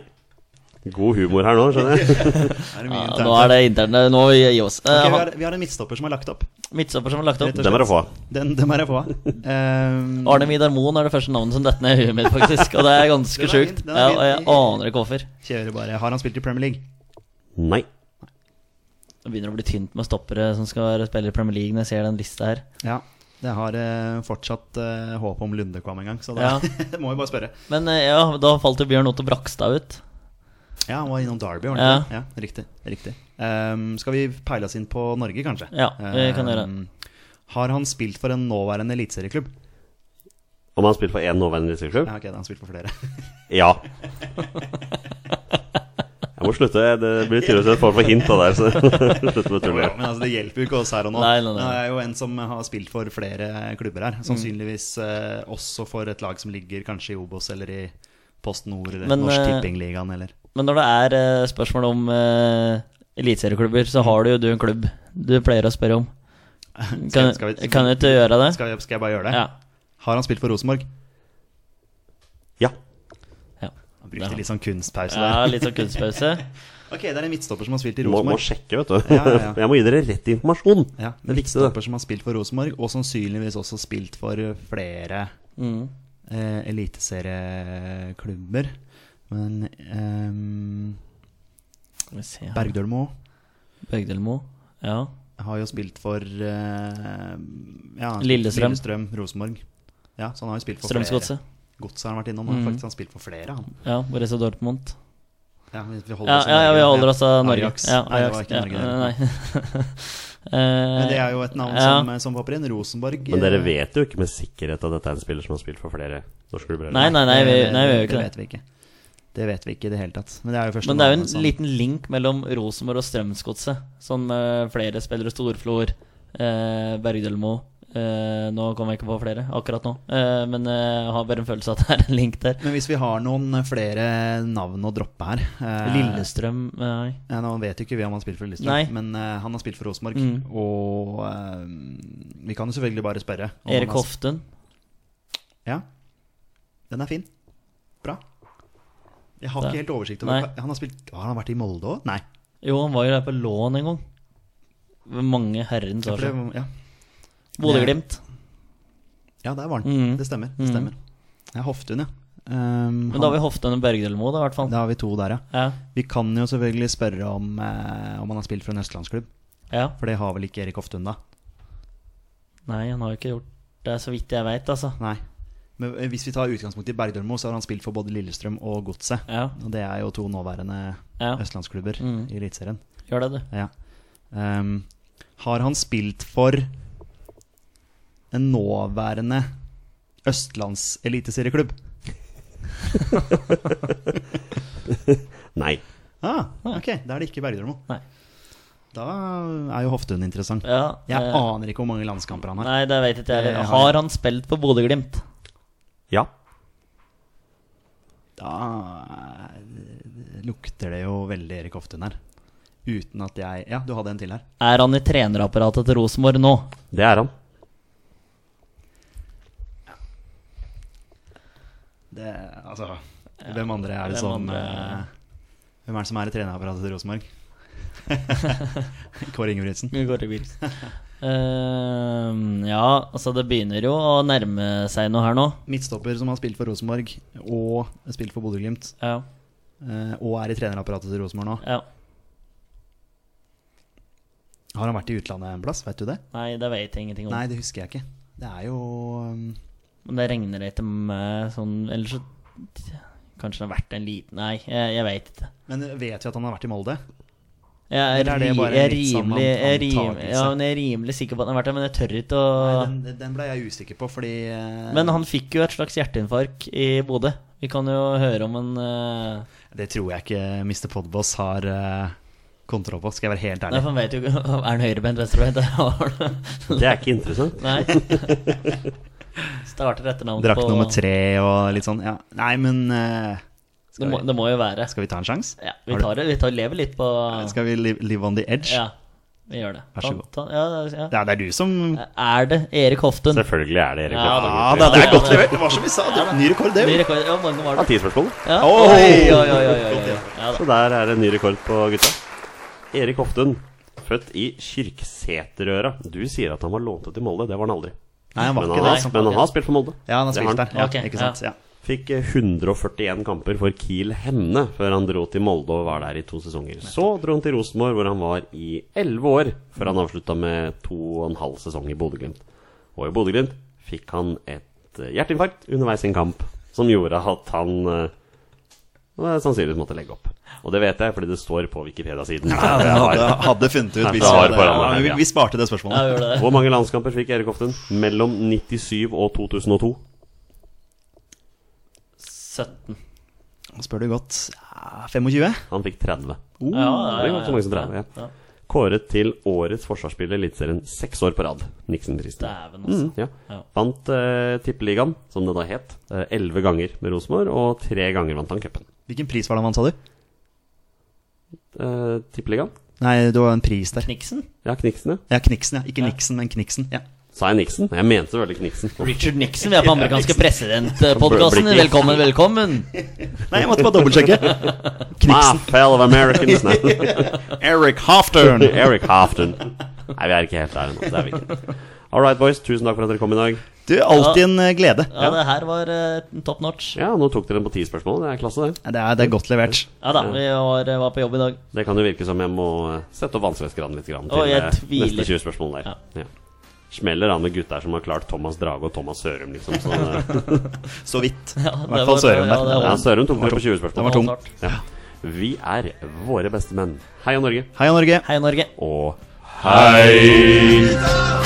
Speaker 2: God humor her nå, skjønner jeg.
Speaker 3: Er det mye
Speaker 4: Ja,
Speaker 3: internt
Speaker 4: nå
Speaker 3: her?
Speaker 4: er det interne Nå gir vi oss.
Speaker 3: Ok,
Speaker 4: Eh,
Speaker 3: vi,
Speaker 4: han-
Speaker 3: har, vi har en midtstopper som er lagt opp.
Speaker 4: Midtstopper som er lagt opp.
Speaker 3: Rett og slett.
Speaker 2: Den er å få.
Speaker 3: Den, den er jeg på. Um,
Speaker 4: Arne Vidar Moen er det første navnet som detter ned i huet mitt, faktisk. Og det er ganske
Speaker 3: Den er fin,
Speaker 4: sjukt.
Speaker 3: den er
Speaker 4: Ja,
Speaker 3: fin.
Speaker 4: og jeg aner ikke hvorfor.
Speaker 3: kjører bare. Har han spilt i Premier League?
Speaker 2: Nei.
Speaker 4: Det begynner å bli tynt med stoppere som skal være spillere i Premier League, når jeg ser den lista her.
Speaker 3: Ja. Jeg har eh, fortsatt eh, håp om Lundekvam en gang, så da
Speaker 4: Ja.
Speaker 3: må vi bare spørre.
Speaker 4: Men eh, ja, da falt jo Bjørn Otto Brakstad ut.
Speaker 3: Ja, han var innom Derby, var
Speaker 4: Ja.
Speaker 3: han ikke? det? Ja, riktig. riktig. Um, skal vi peile oss inn på Norge, kanskje?
Speaker 4: Ja, vi kan gjøre det.
Speaker 3: Um, Har han spilt for en nåværende eliteserieklubb?
Speaker 2: Om han har spilt for én nåværende distriktsklubb?
Speaker 3: Ja, ok, da har han spilt for flere.
Speaker 2: Ja. Jeg Jeg må slutte. Det blir tydeligvis en form for hint av det her, så slutte med
Speaker 3: Ja,
Speaker 2: tullingen.
Speaker 3: men altså, det hjelper jo ikke oss her og nå.
Speaker 4: Nei, Mm. nei, nei.
Speaker 3: Det er jo en som har spilt for flere klubber her. Sannsynligvis eh, også for et lag som ligger kanskje i Obos eller i Post Nord eller
Speaker 4: Men,
Speaker 3: Norsk
Speaker 4: eh,
Speaker 3: Tippingligaen eller
Speaker 4: Men når det er eh, spørsmål om eh, eliteserieklubber, så har du jo du en klubb du pleier å spørre om. Kan,
Speaker 3: skal vi-
Speaker 4: kan du ikke gjøre det?
Speaker 3: skal jeg, skal jeg bare gjøre det?
Speaker 4: Ja.
Speaker 3: Har han spilt for Rosenborg?
Speaker 2: Ja.
Speaker 4: ja.
Speaker 3: Han
Speaker 4: Det har-
Speaker 3: brukte litt sånn kunstpause
Speaker 4: ja
Speaker 3: der.
Speaker 4: litt sånn kunstpause.
Speaker 3: Ok, det er en midtstopper som har spilt i
Speaker 2: Du må, må
Speaker 3: Rosenborg.
Speaker 2: sjekke, vet du.
Speaker 3: Ja, ja, ja.
Speaker 2: Jeg må gi dere rett informasjon. det er
Speaker 3: Ja,
Speaker 2: viktig, det.
Speaker 3: midtstopper som har spilt for Rosenborg, og sannsynligvis også spilt for eh, flere
Speaker 4: Mm.
Speaker 3: eh, eliteserieklubber. Men ehm,
Speaker 4: Skal vi se.
Speaker 3: Bergdølmo
Speaker 4: Bergdølmo. Ja.
Speaker 3: har jo spilt for eh, ja,
Speaker 4: Lillestrøm.
Speaker 3: Lillestrøm, Rosenborg. Ja, så han har jo spilt for
Speaker 4: Strømsgodset. Mm.
Speaker 3: flere. Godset har han vært innom. Han har faktisk han har spilt for flere, han.
Speaker 4: Ja, Borussia Dortmund.
Speaker 3: Ja, vi, vi holder
Speaker 4: Ja,
Speaker 3: oss i
Speaker 4: ja, ja,
Speaker 3: Norge.
Speaker 4: vi holder oss av Norge.
Speaker 3: Ajax.
Speaker 4: Ja,
Speaker 3: Nei, det
Speaker 4: Ajax.
Speaker 3: var ikke Norge.
Speaker 4: Ja,
Speaker 3: det.
Speaker 4: nei, nei.
Speaker 3: Men det
Speaker 4: Eh,
Speaker 3: er jo et navn
Speaker 4: ja.
Speaker 3: som, som popper inn. Rosenborg.
Speaker 2: Men dere
Speaker 3: eh,
Speaker 2: vet jo ikke med sikkerhet at dette er en spiller som har spilt for flere norske klubber? eller?
Speaker 4: Nei, nei, nei, vi, nei, vi gjør jo ikke det.
Speaker 3: Eh, det. vet vi ikke. Det vet vi ikke i det hele tatt. Men det er jo første
Speaker 4: Men det er jo en
Speaker 3: navnet som-
Speaker 4: liten link mellom Rosenborg og Strømsgodset. Sånn med flere spillere. Storflor, eh, Bergdølmo eh, Nå kommer jeg ikke på flere akkurat nå, eh, men eh, jeg har bare en følelse av at det er en link der.
Speaker 3: Men hvis vi har noen flere navn å droppe her eh,
Speaker 4: Lillestrøm Nei.
Speaker 3: Ja, nå vet jo ikke vi om han spiller for Lillestrøm,
Speaker 4: Nei.
Speaker 3: men eh, han har spilt for Rosenborg.
Speaker 4: Mm.
Speaker 3: Og eh, vi kan jo selvfølgelig bare spørre. om han
Speaker 4: Erik
Speaker 3: har-
Speaker 4: Hoftun.
Speaker 3: Ja. Den er fin. Bra. Jeg har
Speaker 4: Det-
Speaker 3: ikke helt oversikt
Speaker 4: Nei.
Speaker 3: over hva- han har, spilt, har han vært i Molde òg? Nei.
Speaker 4: Jo, han var jo der på lån en gang. Ved mange herrens
Speaker 3: Ja,
Speaker 4: år
Speaker 3: for
Speaker 4: siden.
Speaker 3: det- ja.
Speaker 4: Bodø-Glimt.
Speaker 3: ja, der var han.
Speaker 4: Mm.
Speaker 3: Det stemmer. det stemmer Ja, Hoftun, ja. Um,
Speaker 4: Men da har vi Hoftun og Bergdølmo, da, i hvert fall.
Speaker 3: da har vi to der, ja.
Speaker 4: Ja.
Speaker 3: Vi kan jo selvfølgelig spørre om, eh, om han har spilt for en østlandsklubb.
Speaker 4: ja.
Speaker 3: For det har vel ikke Erik Hoftun, da?
Speaker 4: Nei, han har jo ikke gjort det, så vidt jeg veit, altså.
Speaker 3: Nei. Men eh, hvis vi tar utgangspunkt i Bergdølmo, så har han spilt for både Lillestrøm og Godset.
Speaker 4: Ja,
Speaker 3: Og det er jo to nåværende
Speaker 4: Ja.
Speaker 3: østlandsklubber
Speaker 4: Mm.
Speaker 3: i Eliteserien.
Speaker 4: gjør det, du.
Speaker 3: Ja. Ehm, har han spilt for en nåværende østlandseliteserieklubb?
Speaker 2: Nei.
Speaker 3: Ah, ok, da er det ikke Bergdølmo.
Speaker 4: Nei.
Speaker 3: Da er jo Hoftun interessant.
Speaker 4: Ja,
Speaker 3: Jeg
Speaker 4: eh,
Speaker 3: aner ikke hvor mange landskamper han har.
Speaker 4: Nei, det veit ikke jeg
Speaker 3: Eh,
Speaker 4: heller.
Speaker 3: har-
Speaker 4: Har han spilt på Bodø-Glimt?
Speaker 2: Ja.
Speaker 3: Da eh, lukter det jo veldig Erik Hoftun her. Uten at jeg Ja, du hadde en til her.
Speaker 4: Er han i trenerapparatet til Rosenborg nå?
Speaker 2: Det er han.
Speaker 3: Det, altså, hvem andre er det
Speaker 4: hvem
Speaker 3: som
Speaker 4: andre-
Speaker 3: eh, Hvem er det som er i trenerapparatet til Rosenborg? Kåre Ingebrigtsen.
Speaker 4: Ehm, ja, altså det begynner jo å nærme seg noe her nå.
Speaker 3: Midtstopper som har spilt for Rosenborg og spilt for Bodø-Glimt,
Speaker 4: Ja,
Speaker 3: eh, og er i trenerapparatet til Rosenborg nå.
Speaker 4: ja.
Speaker 3: Har han vært i utlandet en plass? Vet du det?
Speaker 4: Nei, det vet jeg ingenting om.
Speaker 3: Nei, det husker jeg ikke. Det er jo um,
Speaker 4: Men det regner etter meg sånn Eller så Kanskje det har vært en liten Nei, jeg, jeg veit ikke.
Speaker 3: Men vet vi at han har vært i Molde?
Speaker 4: Jeg er,
Speaker 3: Eller er det
Speaker 4: ri-
Speaker 3: bare en
Speaker 4: jeg er
Speaker 3: litt sånn
Speaker 4: rimelig, jeg er rim,
Speaker 3: antagelse?
Speaker 4: ja, men jeg er rimelig sikker på at han har vært der, men jeg tør ikke å
Speaker 3: Nei, den, den ble jeg usikker på, fordi eh,
Speaker 4: Men han fikk jo et slags hjerteinfarkt i Bodø. Vi kan jo høre om en eh,
Speaker 3: Det tror jeg ikke Mr. Podboss har eh, kontroll på, skal jeg være helt
Speaker 4: Nei,
Speaker 3: ærlig.
Speaker 4: for han vet jo ikke Er han høyrebeint, venstrebeint? Det har han.
Speaker 2: Det er ikke interessant.
Speaker 4: Nei. Starter etternavn
Speaker 3: Drakt
Speaker 4: på
Speaker 3: nummer tre og litt sånn, ja. Nei, men eh,
Speaker 4: Det
Speaker 3: skal,
Speaker 4: må, det må jo være.
Speaker 3: vi, skal vi ta en sjanse?
Speaker 4: Ja, vi tar det. Vi tar, lever litt på
Speaker 3: Skal vi live, live on the edge?
Speaker 4: Ja, vi gjør det.
Speaker 3: Vær så god.
Speaker 4: Ta- ta- ja, ja.
Speaker 3: Ja, det er du som
Speaker 4: Er det Erik Hoftun?
Speaker 2: Selvfølgelig er det Erik
Speaker 4: Ja,
Speaker 2: Hoftun.
Speaker 3: Ja da, det er godt levert. Det var som vi sa, det var ny rekord, det.
Speaker 4: Ny rekord. Ja, hvor mange var
Speaker 2: Ja,
Speaker 4: det?
Speaker 2: ti spørsmål.
Speaker 4: Ja.
Speaker 3: Oi!
Speaker 4: Oi, oi, oi, oi, oi, oi. Ja da.
Speaker 2: Så der er det ny rekord på gutta. Erik Hoftun, født i Kyrksæterøra. Du sier at han var lånt ut til Molde. Det var han aldri.
Speaker 3: Nei, han var
Speaker 2: Men
Speaker 3: ikke
Speaker 2: han,
Speaker 3: det.
Speaker 2: har, men han har spilt for Molde.
Speaker 3: Ja, han har
Speaker 2: Det
Speaker 3: spilt
Speaker 2: han.
Speaker 3: der. Ja,
Speaker 4: Ok,
Speaker 3: ikke sant?
Speaker 4: ja.
Speaker 3: Ja.
Speaker 2: Fikk eh, 141 kamper for Kiel Hemne før han dro til Molde og var der i to sesonger. Så dro han til Rosenborg, hvor han var i 11 år, før han avslutta med to og en halv sesong i Bodø-Glimt. Og i Bodø-Glimt fikk han et eh, hjerteinfarkt underveis i en kamp, som gjorde at han eh, eh, sannsynligvis måtte legge opp. Og det vet jeg, fordi det står på Wikipedia-siden.
Speaker 3: Jeg hadde, hadde funnet ut
Speaker 2: Nei,
Speaker 3: hvis
Speaker 2: det
Speaker 3: vi,
Speaker 2: har
Speaker 3: hadde,
Speaker 2: foran meg
Speaker 3: ja,
Speaker 2: her,
Speaker 3: vi,
Speaker 2: ja.
Speaker 3: vi sparte
Speaker 4: Ja,
Speaker 3: det
Speaker 4: vi
Speaker 3: spørsmålet.
Speaker 4: gjorde det.
Speaker 2: Hvor mange landskamper fikk Erik Hoftun mellom 97 og 2002?
Speaker 4: 17.
Speaker 3: Spør du godt ja, 25?
Speaker 2: Han fikk 30.
Speaker 3: Uh,
Speaker 2: Det var så mange som 30, ja.
Speaker 4: Ja.
Speaker 2: Kåret til årets forsvarsspiller i Eliteserien seks år på rad. Nixon-prisen.
Speaker 4: Dæven,
Speaker 3: Mm.
Speaker 4: altså.
Speaker 2: Ja.
Speaker 4: Ja.
Speaker 2: Vant eh, Tippeligaen, som det da het, eh, elleve ganger med Rosenborg, og tre ganger vant han cupen.
Speaker 3: Hvilken pris var det han vant, sa du?
Speaker 2: Eh, Tippeligaen?
Speaker 3: Nei, det var en pris der.
Speaker 4: Kniksen?
Speaker 2: Ja, Kniksen, ja.
Speaker 3: Ja, Kniksen, ja. Ikke Niksen, men Kniksen. Ja.
Speaker 2: Sa jeg Nixon? Jeg mente selvfølgelig Kniksen.
Speaker 4: Richard Nixon, vi er på amerikanske presidentpodkasten.
Speaker 2: Blikk.
Speaker 4: Velkommen, velkommen.
Speaker 3: Nei, jeg måtte bare dobbeltsjekke.
Speaker 2: My
Speaker 3: Kniksen.
Speaker 2: fellow Americans Nei,
Speaker 3: Ah, Eric Hofton.
Speaker 2: Eric Hofton. Nei, vi er ikke helt der ennå. Det er vi ikke. All right, boys. Tusen takk for at dere kom i dag.
Speaker 3: Du, alltid en eh, glede.
Speaker 4: Ja, det her var eh, top notch.
Speaker 2: Ja, Nå tok dere den på ti spørsmål. Det er klasse, det.
Speaker 3: Ja, Det er, det er godt levert.
Speaker 4: Ja da, vi var, var på jobb i dag.
Speaker 2: Det kan jo virke som jeg må eh, sette opp vanskelighetsgraden litt grann til
Speaker 4: Å, jeg
Speaker 2: eh,
Speaker 4: tviler.
Speaker 2: neste 20 spørsmål der. Ja. Smeller an med gutter som har klart Thomas Drage og Thomas Sørum, liksom. Sånn, eh.
Speaker 3: Så vidt.
Speaker 4: Ja,
Speaker 3: I hvert fall Søren der.
Speaker 4: det var-
Speaker 2: ja, Sørum tok dere på 20
Speaker 3: Den
Speaker 2: spørsmål.
Speaker 3: var tung.
Speaker 2: Ja. Vi er våre beste menn. Heia Norge.
Speaker 3: Heia Norge.
Speaker 4: Hei, Norge.
Speaker 2: Og hei!
Speaker 7: Vidar!